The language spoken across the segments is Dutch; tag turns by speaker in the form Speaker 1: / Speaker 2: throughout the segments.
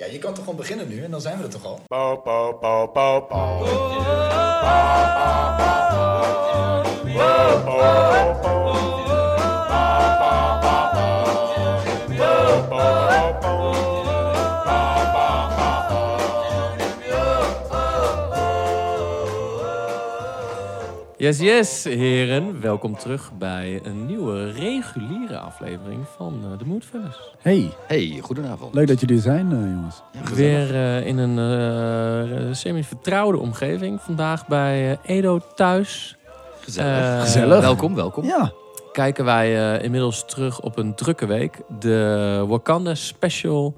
Speaker 1: Ja, je kan toch gewoon beginnen nu en dan zijn we er toch al?
Speaker 2: Bow, bow, bow, bow, bow.
Speaker 3: Yes, yes, heren. Welkom terug bij een nieuwe reguliere aflevering van eh, de Moodfellas.
Speaker 4: Hey,
Speaker 5: Hey, goedenavond.
Speaker 4: leuk dat jullie er zijn, eh, jongens.
Speaker 3: Weer eh, in een eh, semi-vertrouwde omgeving. Vandaag bij eh, Edo thuis.
Speaker 5: Gezellig.
Speaker 3: Eh,
Speaker 4: Gezellig.
Speaker 5: Welkom, welkom.
Speaker 4: Ja,
Speaker 3: Kijken wij eh, inmiddels terug op een drukke week. De Wakanda special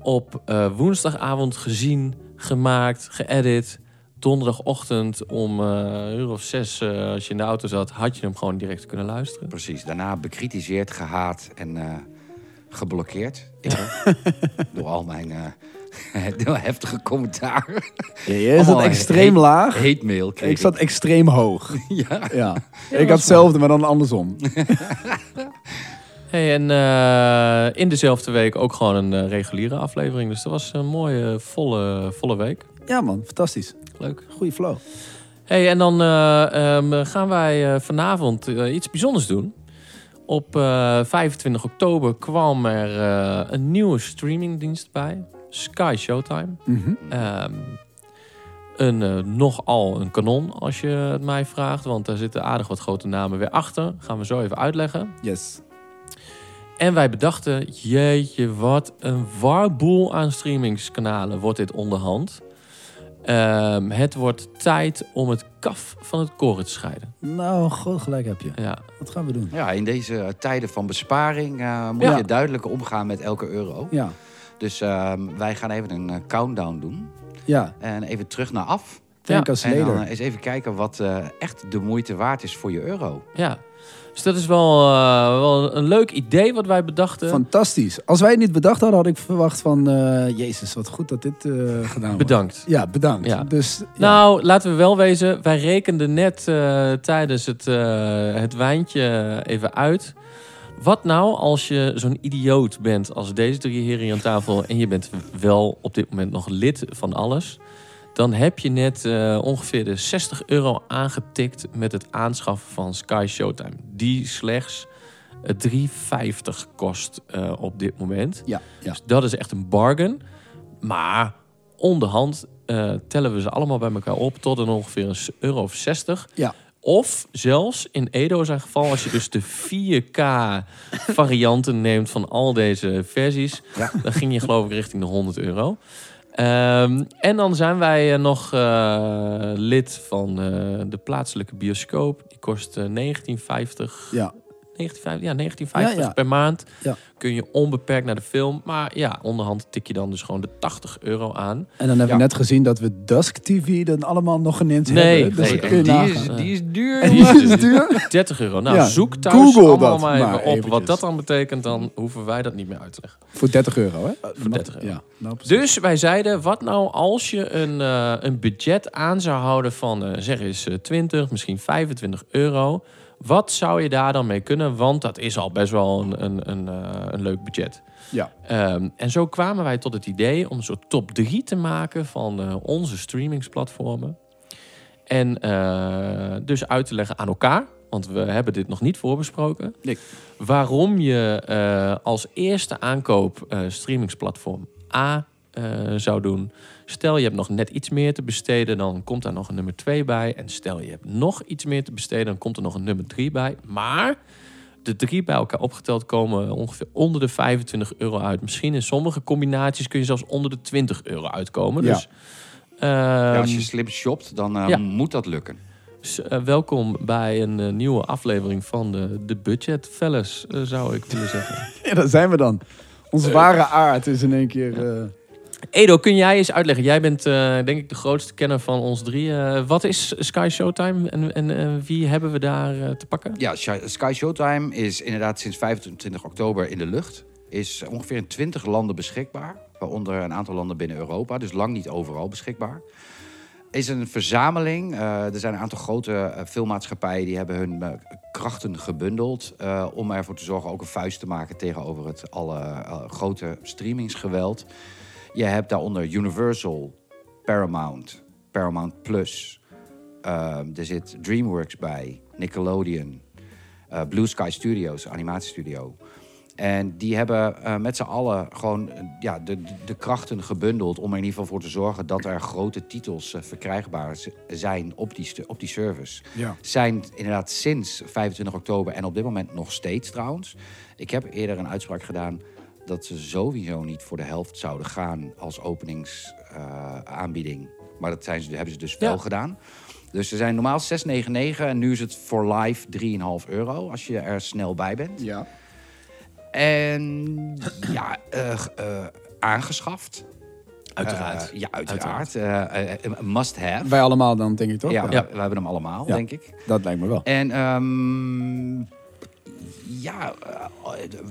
Speaker 3: op eh, woensdagavond gezien, gemaakt, geëdit. Donderdagochtend om eh, een uur of zes, eh, als je in de auto zat, had je hem gewoon direct kunnen luisteren.
Speaker 5: Precies. Daarna bekritiseerd, gehaat en eh, geblokkeerd. Ik Door al mijn eh, door heftige commentaar.
Speaker 4: je zat
Speaker 5: Allemaal
Speaker 4: extreem
Speaker 5: hate-
Speaker 4: laag.
Speaker 5: Hate mail kreeg
Speaker 4: Ik zat extreem hoog.
Speaker 5: Ja.
Speaker 4: Ja. ik had hetzelfde, maar dan andersom.
Speaker 3: Hey, en eh, in dezelfde week ook gewoon een eh, reguliere aflevering. Dus dat was een mooie, volle, volle week.
Speaker 4: Ja man, fantastisch.
Speaker 3: Leuk.
Speaker 4: Goeie flow.
Speaker 3: Hey, en dan eh, ehm, gaan wij eh, vanavond eh, iets bijzonders doen. Op eh, 25 oktober kwam er eh, een nieuwe streamingdienst bij. Sky Showtime.
Speaker 4: Mhm.
Speaker 3: Ehm, een, eh, nogal een kanon, als je het mij vraagt. Want daar zitten aardig wat grote namen weer achter. Gaan we zo even uitleggen.
Speaker 4: Yes.
Speaker 3: En wij bedachten, jeetje, wat een warboel aan streamingskanalen wordt dit onderhand. Ehm, het wordt tijd om het kaf van het koren te scheiden.
Speaker 4: Nou, groot gelijk heb je.
Speaker 3: Ja,
Speaker 4: Wat gaan we doen?
Speaker 5: Ja, in deze eh, tijden van besparing eh, moet
Speaker 4: Ja.
Speaker 5: je duidelijker omgaan met elke euro.
Speaker 4: Ja,
Speaker 5: Dus ehm, wij gaan even een eh, countdown doen.
Speaker 4: ja.
Speaker 5: En even terug naar af.
Speaker 4: Think
Speaker 3: Ja,
Speaker 4: us
Speaker 5: En dan
Speaker 4: later.
Speaker 5: eh, eens even kijken wat eh, echt de moeite waard is voor je euro.
Speaker 3: ja. Dus dat is wel, eh, wel een leuk idee wat wij bedachten.
Speaker 4: Fantastisch. Als wij het niet bedacht hadden, had ik verwacht van... eh, Jezus, wat goed dat dit eh, gedaan wordt.
Speaker 3: Bedankt.
Speaker 4: Ja, bedankt.
Speaker 3: Ja.
Speaker 4: Dus, ja.
Speaker 3: Nou, laten we wel wezen. Wij rekenden net eh, tijdens het, eh, het wijntje even uit. Wat nou als je zo'n idioot bent als deze drie heren hier aan tafel... en je bent wel op dit moment nog lid van alles... dan heb je net eh, ongeveer de 60 euro aangetikt... met het aanschaffen van Sky Showtime. Die slechts eh, 3,50 kost eh, op dit moment.
Speaker 4: Ja, ja.
Speaker 3: Dus dat is echt een bargain. Maar onderhand eh, tellen we ze allemaal bij elkaar op tot een ongeveer een s- euro of 60.
Speaker 4: Ja.
Speaker 3: Of zelfs in Edo zijn geval, als je dus de 4K varianten neemt van al deze versies, dan ging je geloof ik richting de 100 euro. Ehm, en dan zijn wij eh, nog eh, lid van eh, de plaatselijke bioscoop. Die kost eh, 19,50
Speaker 4: Ja.
Speaker 3: 1950, ja, 1950
Speaker 4: Ja, ja.
Speaker 3: per maand
Speaker 4: Ja.
Speaker 3: kun je onbeperkt naar de film. Maar ja, onderhand tik je dan dus gewoon de 80 euro aan.
Speaker 4: En dan hebben we
Speaker 5: Ja.
Speaker 4: net gezien dat we Dusk TV dan allemaal nog geneemd
Speaker 3: Nee,
Speaker 4: hebben. Dus
Speaker 3: nee,
Speaker 4: dat kun
Speaker 5: en
Speaker 4: je
Speaker 5: die,
Speaker 4: nagaan.
Speaker 5: is, die is duur.
Speaker 3: En die
Speaker 5: jongen.
Speaker 3: is dus
Speaker 4: Is het duur?
Speaker 3: 30 euro. Nou,
Speaker 4: Ja,
Speaker 3: zoek thuis
Speaker 4: Google
Speaker 3: allemaal
Speaker 4: dat
Speaker 3: maar even
Speaker 4: maar
Speaker 3: op
Speaker 4: eventjes.
Speaker 3: wat dat dan betekent. Dan hoeven wij dat niet meer uit te leggen.
Speaker 4: Voor 30 euro, hè?
Speaker 3: Eh, voor 30 euro.
Speaker 4: Ja, nou, precies.
Speaker 3: Dus wij zeiden, wat nou als je een, eh, een budget aan zou houden van eh, zeg eens eh, 20, misschien 25 euro. Wat zou je daar dan mee kunnen? Want dat is al best wel een, een, een, eh, een leuk budget.
Speaker 4: Ja.
Speaker 3: Ehm, en zo kwamen wij tot het idee om een soort top 3 te maken van eh, onze streamingsplatformen. En eh, dus uit te leggen aan elkaar, want we hebben dit nog niet voorbesproken.
Speaker 4: Nee.
Speaker 3: Waarom je eh, als eerste aankoop eh, streamingsplatform A eh, zou doen. Stel je hebt nog net iets meer te besteden, dan komt daar nog een nummer 2 bij. En stel je hebt nog iets meer te besteden, dan komt er nog een nummer 3 bij. Maar de drie bij elkaar opgeteld komen ongeveer onder de 25 euro uit. Misschien in sommige combinaties kun je zelfs onder de 20 euro uitkomen.
Speaker 4: Ja.
Speaker 3: Dus
Speaker 5: Ja,
Speaker 3: ehm,
Speaker 5: als je slim shopt, dan eh,
Speaker 3: ja.
Speaker 5: moet dat lukken.
Speaker 3: s- eh, welkom bij een eh, nieuwe aflevering van de, de Budget Fellas, eh, zou ik willen zeggen.
Speaker 4: Ja, daar zijn we dan. Onze ware aard is in één keer... eh,
Speaker 3: Edo, kun jij eens uitleggen? Jij bent eh, denk ik de grootste kenner van ons drie. Eh, wat is Sky Showtime en, en eh, wie hebben we daar eh, te pakken?
Speaker 5: Ja, Shi- Sky Showtime is inderdaad sinds 25 oktober in de lucht. Is ongeveer in 20 landen beschikbaar. Waaronder een aantal landen binnen Europa, dus lang niet overal beschikbaar. Is een verzameling. eh, er zijn een aantal grote eh, filmmaatschappijen die hebben hun eh, krachten gebundeld. eh, om ervoor te zorgen ook een vuist te maken tegenover het alle eh, grote streamingsgeweld. Je hebt daaronder Universal, Paramount, Paramount Plus. Ehm, er zit DreamWorks bij, Nickelodeon, eh, Blue Sky Studios, animatiestudio. En die hebben eh, met z'n allen gewoon eh, ja, de, de krachten gebundeld... om er in ieder geval voor te zorgen dat er grote titels eh, verkrijgbaar z- zijn op die, stu- op die service
Speaker 4: Ja.
Speaker 5: zijn inderdaad sinds 25 oktober en op dit moment nog steeds trouwens. Ik heb eerder een uitspraak gedaan dat ze sowieso niet voor de helft zouden gaan als openingsaanbieding. maar dat zijn ze, hebben ze dus wel
Speaker 3: Ja.
Speaker 5: gedaan. Dus ze zijn normaal 6,99 en nu is het voor live 3,5 euro als je er snel bij bent.
Speaker 4: Ja.
Speaker 5: En ja, eh, eh, aangeschaft.
Speaker 3: Uiteraard.
Speaker 5: Eh, ja, uiteraard. Eh, eh, must have.
Speaker 4: Wij allemaal dan, denk ik toch?
Speaker 5: ja,
Speaker 4: Ja.
Speaker 5: we- we hebben hem allemaal,
Speaker 4: Ja.
Speaker 5: denk ik.
Speaker 4: Dat lijkt me wel.
Speaker 5: En ehm, ja, eh,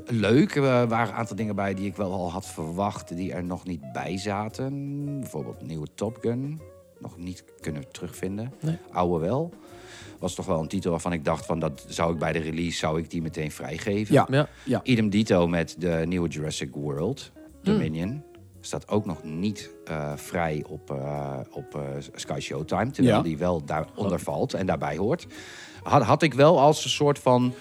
Speaker 5: leuk. Er waren een aantal dingen bij die ik wel al had verwacht... die er nog niet bij zaten. Bijvoorbeeld nieuwe Top Gun. Nog niet kunnen terugvinden.
Speaker 3: Nee.
Speaker 5: Oude wel. Was toch wel een titel waarvan ik dacht... Van, dat zou ik bij de release zou ik die meteen vrijgeven.
Speaker 4: Ja.
Speaker 3: Ja.
Speaker 4: Ja. Hmm.
Speaker 5: Idem dito met de nieuwe Jurassic World, Dominion. Staat ook nog niet eh, vrij op, eh, op eh, Sky Showtime. Terwijl
Speaker 4: Ja.
Speaker 5: die wel daaronder valt en daarbij hoort. Had, had ik wel als een soort van...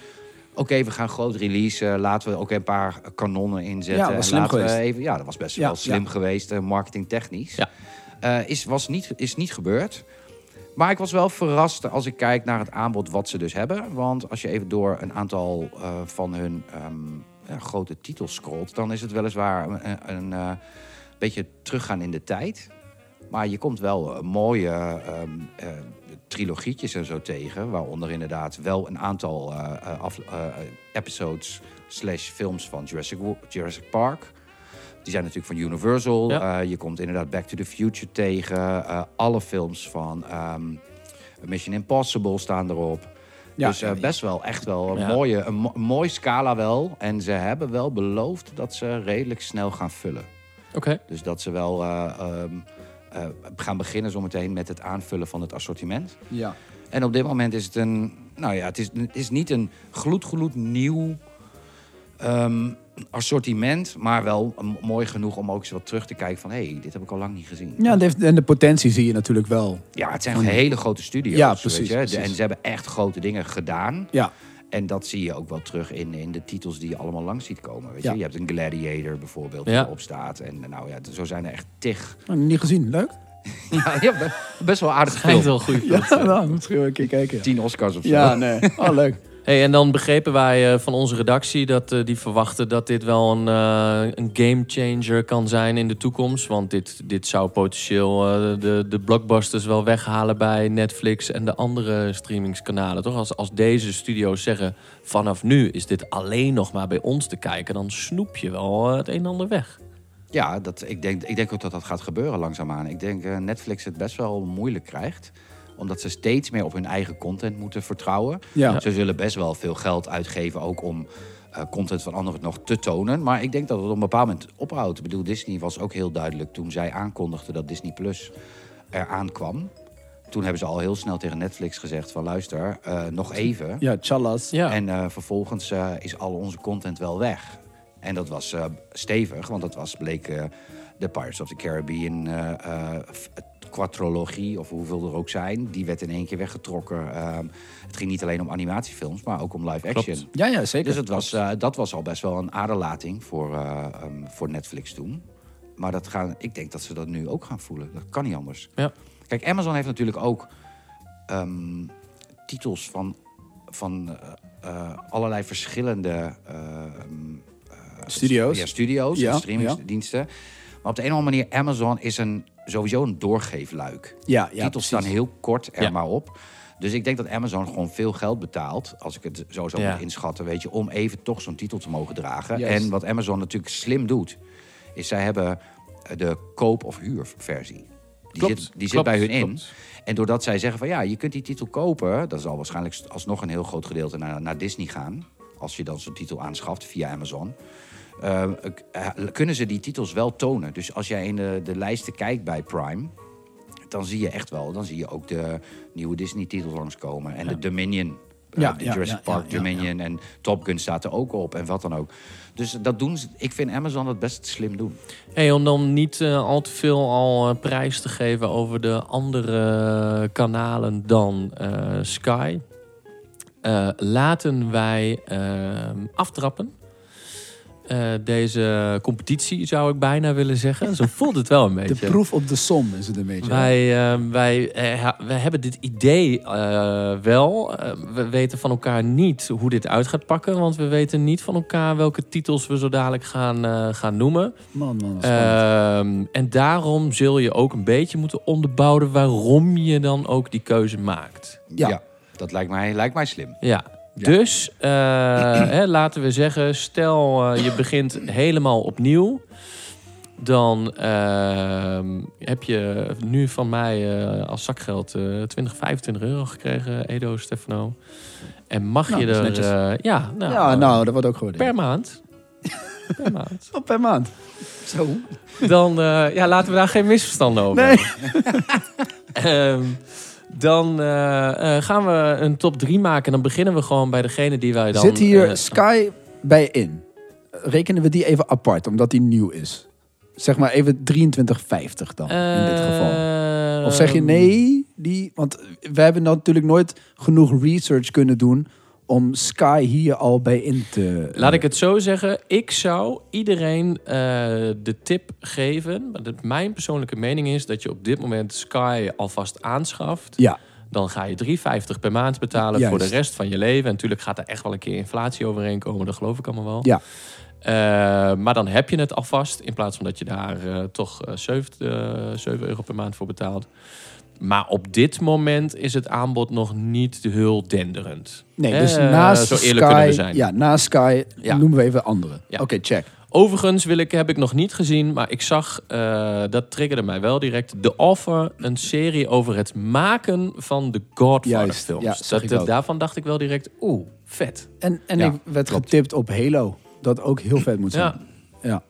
Speaker 5: Oké, we gaan groot releasen. Laten we ook een paar kanonnen inzetten.
Speaker 4: Ja, was
Speaker 5: en
Speaker 4: slim
Speaker 5: laten we
Speaker 4: geweest.
Speaker 5: Even, ja, dat was best
Speaker 4: Ja,
Speaker 5: wel slim
Speaker 4: ja.
Speaker 5: geweest, eh, marketingtechnisch.
Speaker 3: Ja.
Speaker 5: Eh, is, was niet, is niet gebeurd. Maar ik was wel verrast als ik kijk naar het aanbod wat ze dus hebben. Want als je even door een aantal eh, van hun ehm, ja, grote titels scrolt... dan is het weliswaar een, een, een eh, beetje teruggaan in de tijd. Maar je komt wel eh, mooie ehm, eh, trilogietjes en zo tegen. Waaronder inderdaad wel een aantal eh, eh, af- eh, episodes slash films van Jurassic, Wo- Jurassic Park... Die zijn natuurlijk van Universal.
Speaker 3: Ja.
Speaker 5: Eh, je komt inderdaad Back to the Future tegen. Eh, alle films van ehm, Mission Impossible staan erop.
Speaker 4: Ja.
Speaker 5: dus eh, best wel echt wel een,
Speaker 3: Ja.
Speaker 5: mooie, een, mo- een mooi scala wel. En ze hebben wel beloofd dat ze redelijk snel gaan vullen.
Speaker 3: Oké.
Speaker 5: Dus dat ze wel eh, ehm, eh, gaan beginnen zometeen met het aanvullen van het assortiment.
Speaker 4: Ja.
Speaker 5: En op dit moment is het een. Nou ja, het is, het is niet een gloedgloed nieuw ehm, assortiment. Maar wel m- mooi genoeg om ook eens wat terug te kijken van hé, hey, dit heb ik al lang niet gezien.
Speaker 4: Ja, en de- en de potentie zie je natuurlijk wel.
Speaker 5: Ja, het zijn hele grote studio's.
Speaker 4: Ja,
Speaker 5: weet
Speaker 4: precies,
Speaker 5: je.
Speaker 4: precies.
Speaker 5: En ze hebben echt grote dingen gedaan.
Speaker 4: Ja.
Speaker 5: En dat zie je ook wel terug in, in de titels die je allemaal langs ziet komen. Weet je?
Speaker 4: Ja.
Speaker 5: je hebt een Gladiator bijvoorbeeld die
Speaker 3: Ja.
Speaker 5: erop staat. En nou ja, zo zijn er echt tig.
Speaker 4: Nou, niet gezien. Leuk.
Speaker 5: Ja, ja, be- best wel aardig
Speaker 3: Schijnt
Speaker 5: film.
Speaker 3: wel goed.
Speaker 4: Ja, nou, misschien wel een keer kijken. Ja,
Speaker 5: Tien Oscars of zo.
Speaker 4: ja nee. Oh, leuk.
Speaker 3: Hey, en dan begrepen wij eh, van onze redactie dat eh, die verwachten dat dit wel een, eh een gamechanger kan zijn in de toekomst. Want dit, dit zou potentieel eh, de, de blockbusters wel weghalen bij Netflix en de andere streamingskanalen. Toch? Als, als deze studio's zeggen vanaf nu is dit alleen nog maar bij ons te kijken, dan snoep je wel eh, het een en ander weg.
Speaker 5: Ja, dat, ik, denk, ik denk ook dat dat gaat gebeuren langzaamaan. Ik denk eh Netflix het best wel moeilijk krijgt. Omdat ze steeds meer op hun eigen content moeten vertrouwen.
Speaker 4: Ja.
Speaker 5: Ze zullen best wel veel geld uitgeven ook om eh, content van anderen nog te tonen. Maar ik denk dat het op een bepaald moment ophoudt. Ik bedoel, Disney was ook heel duidelijk toen zij aankondigden dat Disney Plus eraan kwam. Toen hebben ze al heel snel tegen Netflix gezegd van luister, eh, nog even.
Speaker 4: Ja, Chalas.
Speaker 3: Ja,
Speaker 5: En eh, vervolgens eh, is al onze content wel weg. En dat was eh, stevig, want dat was, bleek eh, de Pirates of the Caribbean eh eh, f- quadrologie, of hoeveel er ook zijn. Die werd in één keer weggetrokken. Ehm, het ging niet alleen om animatiefilms, maar ook om live action.
Speaker 4: Ja, ja, zeker.
Speaker 5: Dus het was, eh, dat was al best wel een aderlating voor, eh, ehm, voor Netflix toen. Maar dat gaan, ik denk dat ze dat nu ook gaan voelen. Dat kan niet anders.
Speaker 3: Ja.
Speaker 5: Kijk, Amazon heeft natuurlijk ook ehm, titels van, van eh, eh, allerlei verschillende eh, ehm,
Speaker 4: Studio's.
Speaker 5: ja, studio's
Speaker 4: Ja,
Speaker 5: en streamingsdiensten. Maar op de een of andere manier, Amazon is een, sowieso een doorgeefluik.
Speaker 4: Ja, ja,
Speaker 5: Titels staan
Speaker 4: precies.
Speaker 5: heel kort er
Speaker 3: Ja.
Speaker 5: maar op. Dus ik denk dat Amazon gewoon veel geld betaalt, als ik het zo zou
Speaker 3: Ja.
Speaker 5: moeten inschatten, weet je, om even toch zo'n titel te mogen dragen.
Speaker 4: Juist.
Speaker 5: En wat Amazon natuurlijk slim doet, is zij hebben eh, de koop- of huurversie. Die,
Speaker 3: Klopt,
Speaker 5: zit, die
Speaker 3: klopt,
Speaker 5: zit bij hun in.
Speaker 3: klopt.
Speaker 5: En doordat zij zeggen van ja, je kunt die titel kopen, dat zal waarschijnlijk alsnog een heel groot gedeelte naar, naar Disney gaan. Als je dan zo'n titel aanschaft via Amazon. eh, k- eh, kunnen ze die titels wel tonen. Dus als jij in de, de lijsten kijkt bij Prime, dan zie je echt wel, dan zie je ook de nieuwe Disney-titels langskomen. En de Dominion eh,
Speaker 4: Ja,
Speaker 5: de
Speaker 4: ja,
Speaker 5: Jurassic
Speaker 4: ja, ja,
Speaker 5: Park
Speaker 4: ja,
Speaker 5: Dominion en Top Gun staat er ook op en wat dan ook. Dus dat doen ze. Ik vind Amazon dat best slim doen.
Speaker 3: Hey, om dan niet eh, al te veel al eh, prijs te geven over de andere kanalen dan eh, Sky. eh, laten wij ehm, aftrappen. Eh, deze competitie zou ik bijna willen zeggen. Zo voelt het wel een beetje.
Speaker 4: De proef op de som is het een beetje.
Speaker 3: Wij, eh, wij, eh, ha- wij hebben dit idee eh, wel. Eh, we weten van elkaar niet hoe dit uit gaat pakken. Want we weten niet van elkaar welke titels we zo dadelijk gaan, eh, gaan noemen.
Speaker 4: Man, man, dat is
Speaker 3: Ehm,
Speaker 4: spannend.
Speaker 3: en daarom zul je ook een beetje moeten onderbouwen waarom je dan ook die keuze maakt.
Speaker 4: ja.
Speaker 5: dat lijkt mij, lijkt mij slim.
Speaker 3: Ja. Dus eh, hè, laten we zeggen, stel eh, je begint helemaal opnieuw. Dan ehm, heb je nu van mij eh, als zakgeld eh 20, 25 euro gekregen, Edo Stefano. En mag
Speaker 4: Nou,
Speaker 3: je
Speaker 4: dat is
Speaker 3: er.
Speaker 4: netjes.
Speaker 3: eh, ja, nou,
Speaker 4: ja,
Speaker 3: eh,
Speaker 4: nou, dat wordt ook gewaardeerd.
Speaker 3: per maand. per maand.
Speaker 4: Oh, per maand. Zo.
Speaker 3: Dan eh, ja, laten we daar geen misverstanden over
Speaker 4: Nee.
Speaker 3: Ehm, dan eh, eh, gaan we een top 3 maken. En dan beginnen we gewoon bij degene die wij dan...
Speaker 4: Zit hier
Speaker 3: eh,
Speaker 4: Sky bij in? Rekenen we die even apart, omdat die nieuw is. Zeg maar even 23,50 dan, in dit geval.
Speaker 3: eh,
Speaker 4: Of zeg je nee, die, want we hebben nou natuurlijk nooit genoeg research kunnen doen om Sky hier al bij in te...
Speaker 3: Laat ik het zo zeggen. Ik zou iedereen eh, de tip geven. maar dat- Mijn persoonlijke mening is dat je op dit moment Sky alvast aanschaft.
Speaker 4: Ja,
Speaker 3: Dan ga je 3,50 per maand betalen
Speaker 4: Juist.
Speaker 3: voor de rest van je leven. En natuurlijk gaat er echt wel een keer inflatie overheen komen. Dat geloof ik allemaal wel.
Speaker 4: ja.
Speaker 3: Eh, maar dan heb je het alvast. In plaats van dat je daar eh, toch eh, 7, eh, 7 euro per maand voor betaalt. Maar op dit moment is het aanbod nog niet heel denderend.
Speaker 4: Nee, dus
Speaker 3: Eh,
Speaker 4: naast
Speaker 3: zo eerlijk kunnen
Speaker 4: Sky...
Speaker 3: we zijn.
Speaker 4: Ja, naast Sky
Speaker 3: Ja.
Speaker 4: noemen we even andere.
Speaker 3: Ja.
Speaker 4: Oké, check.
Speaker 3: Overigens wil ik, heb ik nog niet gezien, maar ik zag, eh, dat triggerde mij wel direct, The Offer, een serie over het maken van de Godfather
Speaker 4: Juist, ja,
Speaker 3: films.
Speaker 4: zag ik
Speaker 3: dat,
Speaker 4: ook.
Speaker 3: daarvan dacht ik wel direct, oeh, vet.
Speaker 4: En, en
Speaker 5: Ja,
Speaker 4: ik werd getipt op Halo, dat ook heel vet moet zijn.
Speaker 3: Ja.
Speaker 4: ja.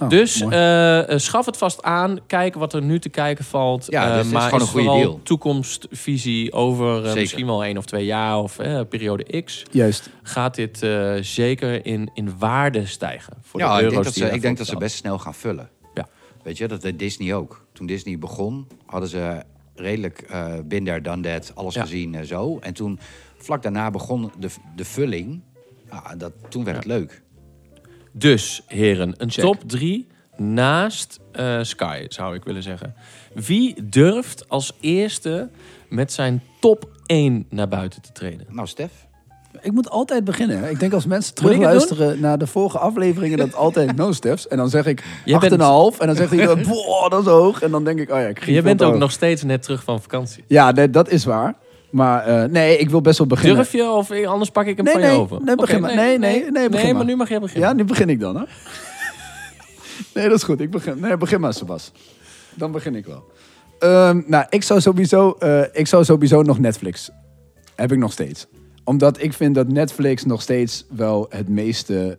Speaker 4: Oh,
Speaker 3: dus
Speaker 4: mooi.
Speaker 3: eh, eh, schaf het vast aan. Kijk wat er nu te kijken valt.
Speaker 5: Ja,
Speaker 3: Eh,
Speaker 5: dit is
Speaker 3: maar
Speaker 5: gewoon een goede
Speaker 3: vooral
Speaker 5: deal.
Speaker 3: toekomstvisie over eh,
Speaker 5: Zeker.
Speaker 3: misschien wel één of twee jaar of eh, periode X.
Speaker 4: Juist.
Speaker 3: Gaat dit eh, zeker in, in waarde stijgen? Voor
Speaker 5: ja,
Speaker 3: de
Speaker 5: ik
Speaker 3: euro's
Speaker 5: denk dat
Speaker 3: die
Speaker 5: ze, ik
Speaker 3: daarvoor
Speaker 5: denk dat ze
Speaker 3: betalen.
Speaker 5: best snel gaan vullen.
Speaker 3: Ja.
Speaker 5: Weet je, dat deed Disney ook. Toen Disney begon, hadden ze redelijk eh binder dan dat, alles
Speaker 3: Ja.
Speaker 5: gezien en zo. En toen, vlak daarna begon de, de vulling. Ah, dat, toen werd het leuk.
Speaker 3: Dus, heren, een
Speaker 5: Check.
Speaker 3: top 3 naast eh, Sky, zou ik willen zeggen. Wie durft als eerste met zijn top 1 naar buiten te treden?
Speaker 5: Nou, Stef,
Speaker 4: Ik moet altijd beginnen. hè. Ik denk als mensen
Speaker 3: Moet ik het
Speaker 4: terugluisteren naar de vorige afleveringen... dat altijd no steps. En dan zeg ik 8,5.
Speaker 3: Jij bent-
Speaker 4: En dan zegt iedereen, boah, dat is hoog. En dan denk ik, oh ja, ik ging
Speaker 3: Je
Speaker 4: veel
Speaker 3: bent
Speaker 4: te
Speaker 3: ook
Speaker 4: hoog.
Speaker 3: nog steeds net terug van vakantie.
Speaker 4: Ja, nee, dat is waar. Maar eh, nee, ik wil best wel beginnen.
Speaker 3: Durf je of eh, anders pak ik hem
Speaker 4: Nee,
Speaker 3: van
Speaker 4: nee,
Speaker 3: je over?
Speaker 4: nee, begin
Speaker 3: Oké,
Speaker 4: maar. Nee, nee, nee, begin
Speaker 3: maar.
Speaker 4: maar.
Speaker 3: nu mag jij beginnen.
Speaker 4: Ja, nu begin ik dan, hè? nee, dat is goed. Ik begin. Nee, begin maar, Sebas. Dan begin ik wel. Ehm, nou, ik zou, sowieso, eh, ik zou sowieso nog Netflix. Heb ik nog steeds. Omdat ik vind dat Netflix nog steeds wel het meeste...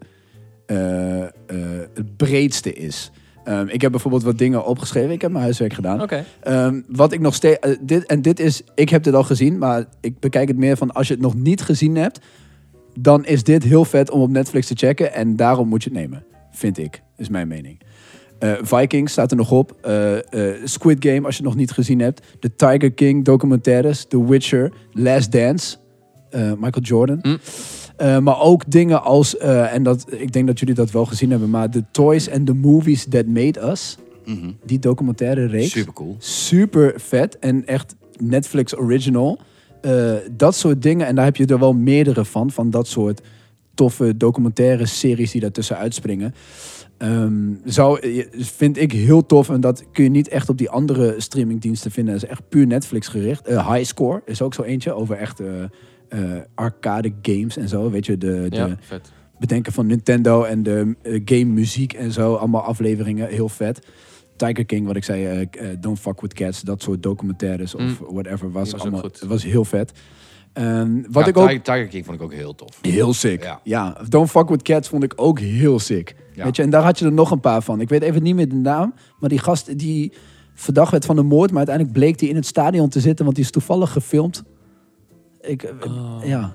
Speaker 4: eh, eh, het breedste is. Ehm, ik heb bijvoorbeeld wat dingen opgeschreven. Ik heb mijn huiswerk gedaan.
Speaker 3: Oké.
Speaker 4: Ehm, wat ik nog steeds. eh, dit, en dit is. Ik heb dit al gezien, maar ik bekijk het meer van als je het nog niet gezien hebt. Dan is dit heel vet om op Netflix te checken. En daarom moet je het nemen. Vind ik. Is mijn mening. Eh Vikings staat er nog op. eh, eh, Squid Game, als je het nog niet gezien hebt. The Tiger King documentaires. The Witcher. Last Dance. eh, Michael Jordan.
Speaker 3: Hm.
Speaker 4: Eh, maar ook dingen als. eh, en dat, ik denk dat jullie dat wel gezien hebben. Maar The Toys and the Movies That Made Us.
Speaker 5: Mhm.
Speaker 4: Die documentaire reeks
Speaker 5: supercool.
Speaker 4: super vet en echt Netflix original. Eh, dat soort dingen. En daar heb je er wel meerdere van. Van dat soort toffe documentaire series die daartussen uitspringen. Ehm, zou, je- vind ik heel tof. En dat kun je niet echt op die andere streamingdiensten vinden. Dat is echt puur Netflix gericht. Eh, High Score is ook zo eentje over echt eh, eh, arcade games en zo. Weet je, de, de,
Speaker 3: Ja, vet.
Speaker 4: bedenken van Nintendo en de eh, game muziek en zo. Allemaal afleveringen, heel vet. Tiger King, wat ik zei, eh, k- eh, Don't Fuck With Cats, dat soort documentaires of
Speaker 3: Mm.
Speaker 4: whatever. Was,
Speaker 3: was ook
Speaker 4: allemaal,
Speaker 3: goed.
Speaker 4: was heel vet. Ehm, wat
Speaker 5: Ja,
Speaker 4: ik ook...
Speaker 5: Tiger, Tiger King vond ik ook heel tof.
Speaker 4: Heel sick. Ja.
Speaker 5: Ja.
Speaker 4: Don't Fuck With Cats vond ik ook heel sick.
Speaker 5: Ja.
Speaker 4: Weet je, en daar had je er nog een paar van. Ik weet even niet meer de naam, maar die gast die verdacht werd van de moord, maar uiteindelijk bleek die in het stadion te zitten, want die is toevallig gefilmd. Ik, eh,
Speaker 3: Oh.
Speaker 4: Ja.